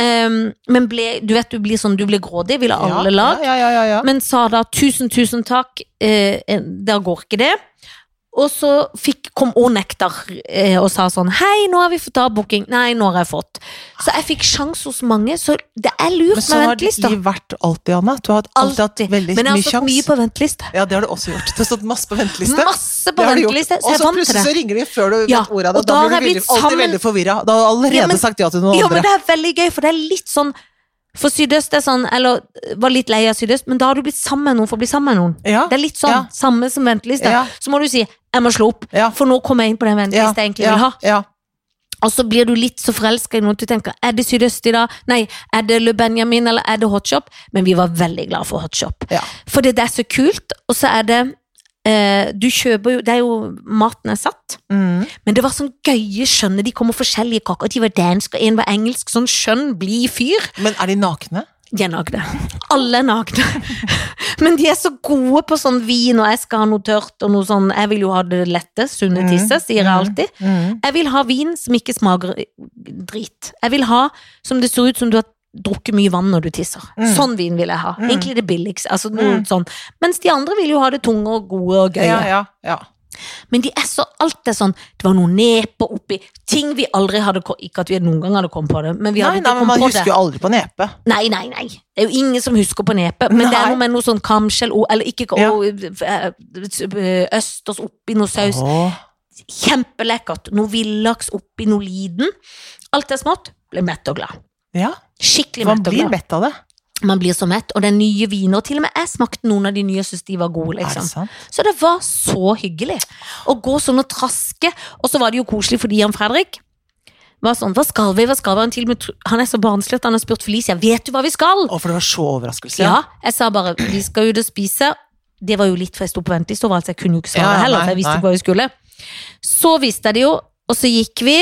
[SPEAKER 2] ehm, men ble, du vet du blir sånn, du blir grådig, vil ha alle lag.
[SPEAKER 1] Ja, ja, ja, ja, ja.
[SPEAKER 2] Men sa da tusen, tusen takk, eh, da går ikke det. Og så fikk, kom og nektar eh, og sa sånn Hei, nå har vi fått avbooking. Nei, nå har jeg fått. Så jeg fikk sjanse hos mange, så det er
[SPEAKER 1] Men
[SPEAKER 2] lurt
[SPEAKER 1] sånn
[SPEAKER 2] med
[SPEAKER 1] har
[SPEAKER 2] ventelista.
[SPEAKER 1] de vært alltid, Anna. Du har alltid hatt
[SPEAKER 2] Alltid.
[SPEAKER 1] veldig
[SPEAKER 2] Men jeg har
[SPEAKER 1] mye
[SPEAKER 2] stått mye
[SPEAKER 1] sjans.
[SPEAKER 2] på venteliste.
[SPEAKER 1] Ja, det har du også gjort. Det har stått masse på venteliste.
[SPEAKER 2] Masse
[SPEAKER 1] Det
[SPEAKER 2] på
[SPEAKER 1] har du gjort.
[SPEAKER 2] venteliste, så
[SPEAKER 1] Og
[SPEAKER 2] jeg
[SPEAKER 1] så
[SPEAKER 2] er vant til
[SPEAKER 1] plutselig
[SPEAKER 2] det.
[SPEAKER 1] så ringer de før du
[SPEAKER 2] Ja,
[SPEAKER 1] vet ordet av det.
[SPEAKER 2] og
[SPEAKER 1] Da blir
[SPEAKER 2] da
[SPEAKER 1] du
[SPEAKER 2] har jeg
[SPEAKER 1] veldig,
[SPEAKER 2] blitt
[SPEAKER 1] alltid
[SPEAKER 2] sammen-
[SPEAKER 1] veldig forvirra. Da har du allerede
[SPEAKER 2] Ja, men-
[SPEAKER 1] sagt ja til noen
[SPEAKER 2] Ja, men
[SPEAKER 1] andre.
[SPEAKER 2] det er veldig gøy, for det er litt sånn For Sydøst er sånn, eller var litt lei av Sydøst, men da har du blitt sammen med noen for å bli sammen med noen.
[SPEAKER 1] Ja,
[SPEAKER 2] Det er litt sånn,
[SPEAKER 1] Ja.
[SPEAKER 2] samme som venteliste.
[SPEAKER 1] Ja.
[SPEAKER 2] Så må du si 'jeg må slå opp',
[SPEAKER 1] ja,
[SPEAKER 2] for nå kommer jeg inn på den ventelista jeg egentlig
[SPEAKER 1] ja,
[SPEAKER 2] vil ha.
[SPEAKER 1] ja.
[SPEAKER 2] Og så blir du litt så forelska i noen at du tenker er det Sydøst i dag? Nei, er det Le Benjamin eller er det Hotshop? Men vi var veldig glad for Hotshop.
[SPEAKER 1] Ja.
[SPEAKER 2] For det det er så kult, og så er det eh, Du kjøper jo Det er jo maten er satt.
[SPEAKER 1] Mm.
[SPEAKER 2] Men det var sånn gøye skjønne. De kom med forskjellige kaker. De var dansk, og en var engelsk. Sånn skjønn, blid fyr.
[SPEAKER 1] Men er de nakne?
[SPEAKER 2] De er nagne. Alle er nagne. Men de er så gode på sånn vin, og jeg skal ha noe tørt og noe sånn Jeg vil jo ha det lette, sunne
[SPEAKER 1] Mm.
[SPEAKER 2] tisse, sier jeg
[SPEAKER 1] Mm.
[SPEAKER 2] alltid. Jeg vil ha vin som ikke smaker drit. Jeg vil ha som det ser ut som du har drukket mye vann når du tisser.
[SPEAKER 1] Mm.
[SPEAKER 2] Sånn vin vil jeg ha.
[SPEAKER 1] Mm.
[SPEAKER 2] Egentlig det billigste. Altså noe
[SPEAKER 1] Mm.
[SPEAKER 2] sånn. Mens de andre vil jo ha det tunge og gode og gøye.
[SPEAKER 1] Ja, ja, ja.
[SPEAKER 2] Men de er så alt er sånn Det var noe nepe oppi ting vi aldri hadde ko- Ikke at vi noen gang hadde kommet på det, men vi
[SPEAKER 1] Nei,
[SPEAKER 2] hadde
[SPEAKER 1] nei,
[SPEAKER 2] ikke
[SPEAKER 1] men man
[SPEAKER 2] kommet på det.
[SPEAKER 1] husker jo aldri på nepe.
[SPEAKER 2] Nei, nei, nei. Det er jo ingen som husker på nepet. Men det
[SPEAKER 1] Nei.
[SPEAKER 2] er noe med noe sånn kamskjell og- eller ikke
[SPEAKER 1] Ja.
[SPEAKER 2] og, eh, østers oppi noe saus.
[SPEAKER 1] Åh.
[SPEAKER 2] Kjempelekkert. Noe villaks oppi noe liden. Alt er smått. Blir mett og glad.
[SPEAKER 1] Ja,
[SPEAKER 2] Skikkelig
[SPEAKER 1] man
[SPEAKER 2] mett og
[SPEAKER 1] blir
[SPEAKER 2] glad.
[SPEAKER 1] mett av det.
[SPEAKER 2] Man blir så mett. Og det er nye viner. Og til og med jeg smakte noen av de nye og syntes de var gode.
[SPEAKER 1] Er det
[SPEAKER 2] liksom.
[SPEAKER 1] sant?
[SPEAKER 2] Så det var så hyggelig å gå sånn og traske. Og så var det jo koselig fordi Jan Fredrik var sånn Hva skal vi? Hva skal vi? Han, til og med, tro- han er så barnslig at han har spurt Felicia Vet du hva vi skal?
[SPEAKER 1] Å, for det var så overraskelse.
[SPEAKER 2] Ja, jeg sa bare Vi skal ut og spise. Det var jo litt for jeg sto på venteliste overalt, så altså jeg kunne jo ikke svare
[SPEAKER 1] Ja, ja,
[SPEAKER 2] heller. så jeg
[SPEAKER 1] nei,
[SPEAKER 2] visste
[SPEAKER 1] nei.
[SPEAKER 2] ikke hva vi skulle. Så visste jeg det jo, og så gikk vi.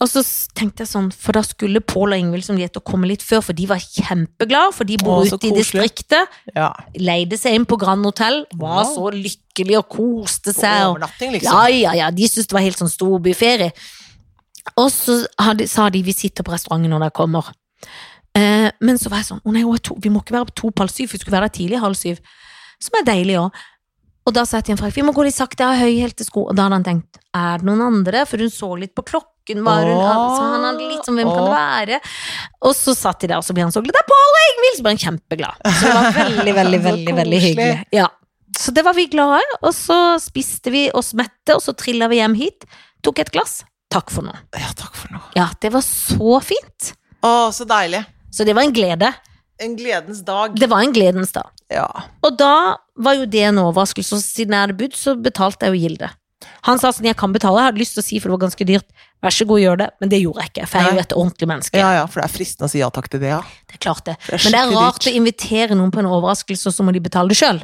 [SPEAKER 2] Og så s- tenkte jeg sånn, for da skulle Pål og Ingvild som de heter, komme litt før, for de var kjempeglade, for de bor
[SPEAKER 1] Å, så
[SPEAKER 2] ute i
[SPEAKER 1] koselig.
[SPEAKER 2] distriktet
[SPEAKER 1] Ja.
[SPEAKER 2] leide seg inn på Grand Hotel, var
[SPEAKER 1] Wow.
[SPEAKER 2] så lykkelig og koste seg. Og,
[SPEAKER 1] Overnatting,
[SPEAKER 2] ja,
[SPEAKER 1] liksom.
[SPEAKER 2] ja, ja, de syntes det var helt sånn storbyferie. Og så hadde, sa de vi sitter på restauranten når dere kommer. Eh, men så var jeg sånn, å nei, hun er to, vi må ikke være på to på halv syv, vi skulle være der tidlig halv syv. Som er deilig òg. Og da sa jeg til en frakk, vi må gå litt sakte, jeg har høyhælte sko. Og da hadde han tenkt, er det noen andre? der? For hun så litt på klokken, var hun,
[SPEAKER 1] Åh,
[SPEAKER 2] så han hadde litt sånn, hvem kan
[SPEAKER 1] åh.
[SPEAKER 2] det være? Og så satt de der, og så ble han så glad. Det er Pål og Ingvild! Så ble han kjempeglad. Så det var veldig, veldig,
[SPEAKER 1] Så
[SPEAKER 2] veldig, veldig
[SPEAKER 1] koselig.
[SPEAKER 2] hyggelig. Ja. Så det var vi glade, og så spiste vi oss mette, og så trilla vi hjem hit. Tok et glass. Takk for nå.
[SPEAKER 1] Ja, takk for noe.
[SPEAKER 2] Ja, det var så fint.
[SPEAKER 1] Å, så deilig.
[SPEAKER 2] Så det var en glede.
[SPEAKER 1] En gledens dag.
[SPEAKER 2] Det var en gledens dag.
[SPEAKER 1] Ja.
[SPEAKER 2] Og da var jo det en overraskelse, og siden jeg hadde budt, så betalte jeg jo Gilde. Han sa sånn, jeg kan betale, jeg hadde lyst til å si, for det var ganske dyrt, vær så god, gjør det, men det gjorde jeg ikke, for jeg er jo et ordentlig menneske.
[SPEAKER 1] ja, ja, for det er fristende å si ja takk til det, ja.
[SPEAKER 2] Det er klart det.
[SPEAKER 1] For det er
[SPEAKER 2] Men det er
[SPEAKER 1] skikkelig
[SPEAKER 2] rart å
[SPEAKER 1] dyrt.
[SPEAKER 2] invitere noen på en overraskelse, og så må de betale det sjøl.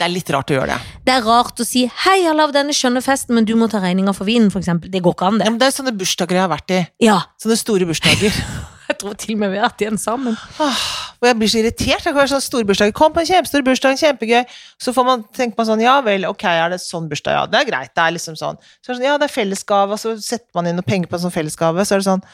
[SPEAKER 1] Det er litt rart å gjøre det.
[SPEAKER 2] Det er rart å si 'hei, jeg har lagd denne skjønne festen, men du må ta regninga for vinen', f.eks. Det går ikke an,
[SPEAKER 1] Ja,
[SPEAKER 2] det.
[SPEAKER 1] men det er sånne bursdager jeg har vært i.
[SPEAKER 2] Ja,
[SPEAKER 1] Sånne store bursdager.
[SPEAKER 2] jeg tror til og med vi har vært igjen sammen.
[SPEAKER 1] Og jeg blir så irritert. Jeg kan være sånn store bursdager. Kom på en kjempestor bursdag, kjempegøy. Så får man tenke man sånn, ja vel, ok, er det sånn bursdag, ja, det er greit, det er liksom sånn. Så er det sånn, ja, det er fellesgave, og så setter man inn noen penger på en sånn fellesgave, så er det sånn,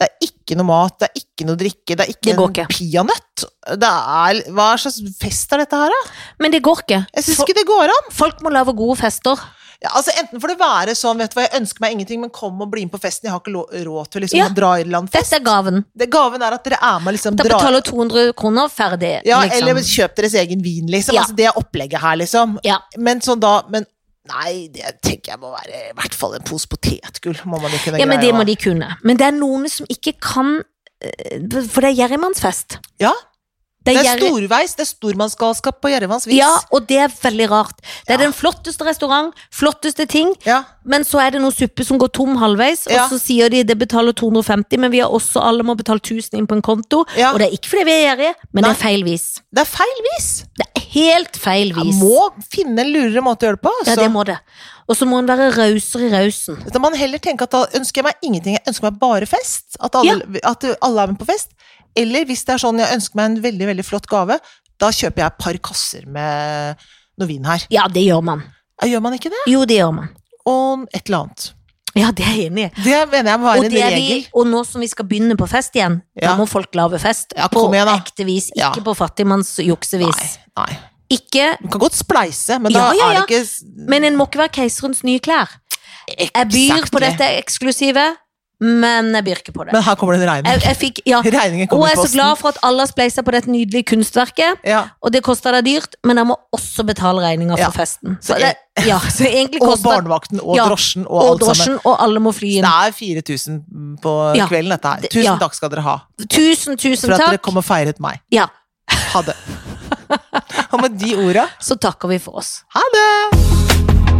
[SPEAKER 1] det er ikke noe mat, det er ikke noe drikke, det er ikke
[SPEAKER 2] Det går
[SPEAKER 1] en
[SPEAKER 2] ikke.
[SPEAKER 1] peanøtt. Det er, hva slags fest er dette her, da?
[SPEAKER 2] Men det går ikke.
[SPEAKER 1] Jeg synes ikke det går an.
[SPEAKER 2] Fol- Folk må lage gode fester.
[SPEAKER 1] Ja, altså, enten får det være sånn, vet du hva, jeg ønsker meg ingenting, men kom og bli med på festen, jeg har ikke lo- råd til liksom,
[SPEAKER 2] Ja.
[SPEAKER 1] å dra i land.
[SPEAKER 2] Dette er gaven.
[SPEAKER 1] Det, gaven er at dere er med, liksom,
[SPEAKER 2] Da
[SPEAKER 1] dra
[SPEAKER 2] betaler du 200 kroner, ferdig.
[SPEAKER 1] Ja,
[SPEAKER 2] liksom.
[SPEAKER 1] eller kjøp deres egen vin, liksom.
[SPEAKER 2] Ja.
[SPEAKER 1] Altså, det er opplegget her, liksom.
[SPEAKER 2] Ja.
[SPEAKER 1] Men sånn da, men Nei, det tenker jeg må være i hvert fall en pose potetgull. Må man jo kunne
[SPEAKER 2] Ja, men det
[SPEAKER 1] greie
[SPEAKER 2] må
[SPEAKER 1] å-
[SPEAKER 2] de kunne. Men det er noen som ikke kan eh, For det er gjerrigmannsfest.
[SPEAKER 1] Ja,
[SPEAKER 2] Det
[SPEAKER 1] det
[SPEAKER 2] er
[SPEAKER 1] er
[SPEAKER 2] gjerrig-
[SPEAKER 1] storveis. Det er stormannsgalskap på Jerevans vis.
[SPEAKER 2] Ja, og det er veldig rart. Det er
[SPEAKER 1] Ja.
[SPEAKER 2] den flotteste restaurant, flotteste ting,
[SPEAKER 1] Ja.
[SPEAKER 2] men så er det noe suppe som går tom halvveis,
[SPEAKER 1] Ja.
[SPEAKER 2] og så sier de det betaler 250, men vi har også alle må betale 1000 inn på en konto.
[SPEAKER 1] Ja.
[SPEAKER 2] Og det er ikke fordi vi er gjerrige, men
[SPEAKER 1] Nei.
[SPEAKER 2] det er feil vis.
[SPEAKER 1] Det er feil vis.
[SPEAKER 2] Det er helt feil
[SPEAKER 1] Man
[SPEAKER 2] vis.
[SPEAKER 1] må finne en lurere måte å gjøre det på.
[SPEAKER 2] Ja,
[SPEAKER 1] altså.
[SPEAKER 2] det må det. Og så må en være rausere i rausen.
[SPEAKER 1] Da må man heller tenke at da ønsker jeg meg ingenting, jeg ønsker meg bare fest. At alle, at alle er med på fest. Eller hvis det er sånn jeg ønsker meg en veldig veldig flott gave, da kjøper jeg et par kasser med noe vin her.
[SPEAKER 2] Ja, det gjør man.
[SPEAKER 1] Ja, Gjør man ikke det?
[SPEAKER 2] Jo, det gjør man.
[SPEAKER 1] Og et eller annet.
[SPEAKER 2] Ja, det er jeg enig i.
[SPEAKER 1] Det mener jeg må
[SPEAKER 2] Og,
[SPEAKER 1] være en
[SPEAKER 2] det er
[SPEAKER 1] regel.
[SPEAKER 2] vi, og nå som vi skal begynne på fest igjen, da
[SPEAKER 1] Ja.
[SPEAKER 2] må folk lage fest.
[SPEAKER 1] Ja,
[SPEAKER 2] på
[SPEAKER 1] kom igjen da.
[SPEAKER 2] ekte vis, ikke
[SPEAKER 1] Ja.
[SPEAKER 2] på fattigmannsjuksevis.
[SPEAKER 1] Nei, nei.
[SPEAKER 2] Ikke
[SPEAKER 1] Man kan godt spleise, men da
[SPEAKER 2] Ja, ja, ja.
[SPEAKER 1] er det ikke s-
[SPEAKER 2] Men en må ikke være keiserens nye klær. Jeg byr på
[SPEAKER 1] Exactly.
[SPEAKER 2] dette eksklusive, men jeg byr ikke på det.
[SPEAKER 1] Men her kommer det en
[SPEAKER 2] Jeg,
[SPEAKER 1] regning.
[SPEAKER 2] jeg fikk, ja.
[SPEAKER 1] Regningen
[SPEAKER 2] Og
[SPEAKER 1] kommer i
[SPEAKER 2] jeg er så
[SPEAKER 1] posten.
[SPEAKER 2] glad for at alle har spleisa på dette nydelige kunstverket.
[SPEAKER 1] Ja.
[SPEAKER 2] Og det kosta deg dyrt, men jeg må også betale regninga for
[SPEAKER 1] Ja.
[SPEAKER 2] festen.
[SPEAKER 1] Så
[SPEAKER 2] Så, det, ja, så egentlig
[SPEAKER 1] Og
[SPEAKER 2] koster
[SPEAKER 1] barnevakten og
[SPEAKER 2] Ja,
[SPEAKER 1] drosjen og,
[SPEAKER 2] og
[SPEAKER 1] alt sammen.
[SPEAKER 2] drosjen, og alle må fly
[SPEAKER 1] Det
[SPEAKER 2] inn.
[SPEAKER 1] er 4000 på
[SPEAKER 2] Ja.
[SPEAKER 1] kvelden, dette her.
[SPEAKER 2] Det-
[SPEAKER 1] Tusen
[SPEAKER 2] ja.
[SPEAKER 1] takk skal dere ha
[SPEAKER 2] Tusen, tusen
[SPEAKER 1] for at dere
[SPEAKER 2] takk.
[SPEAKER 1] kom og feiret meg.
[SPEAKER 2] Ja,
[SPEAKER 1] Ha det. Og med de orda
[SPEAKER 2] så takker vi for oss.
[SPEAKER 1] Ha det!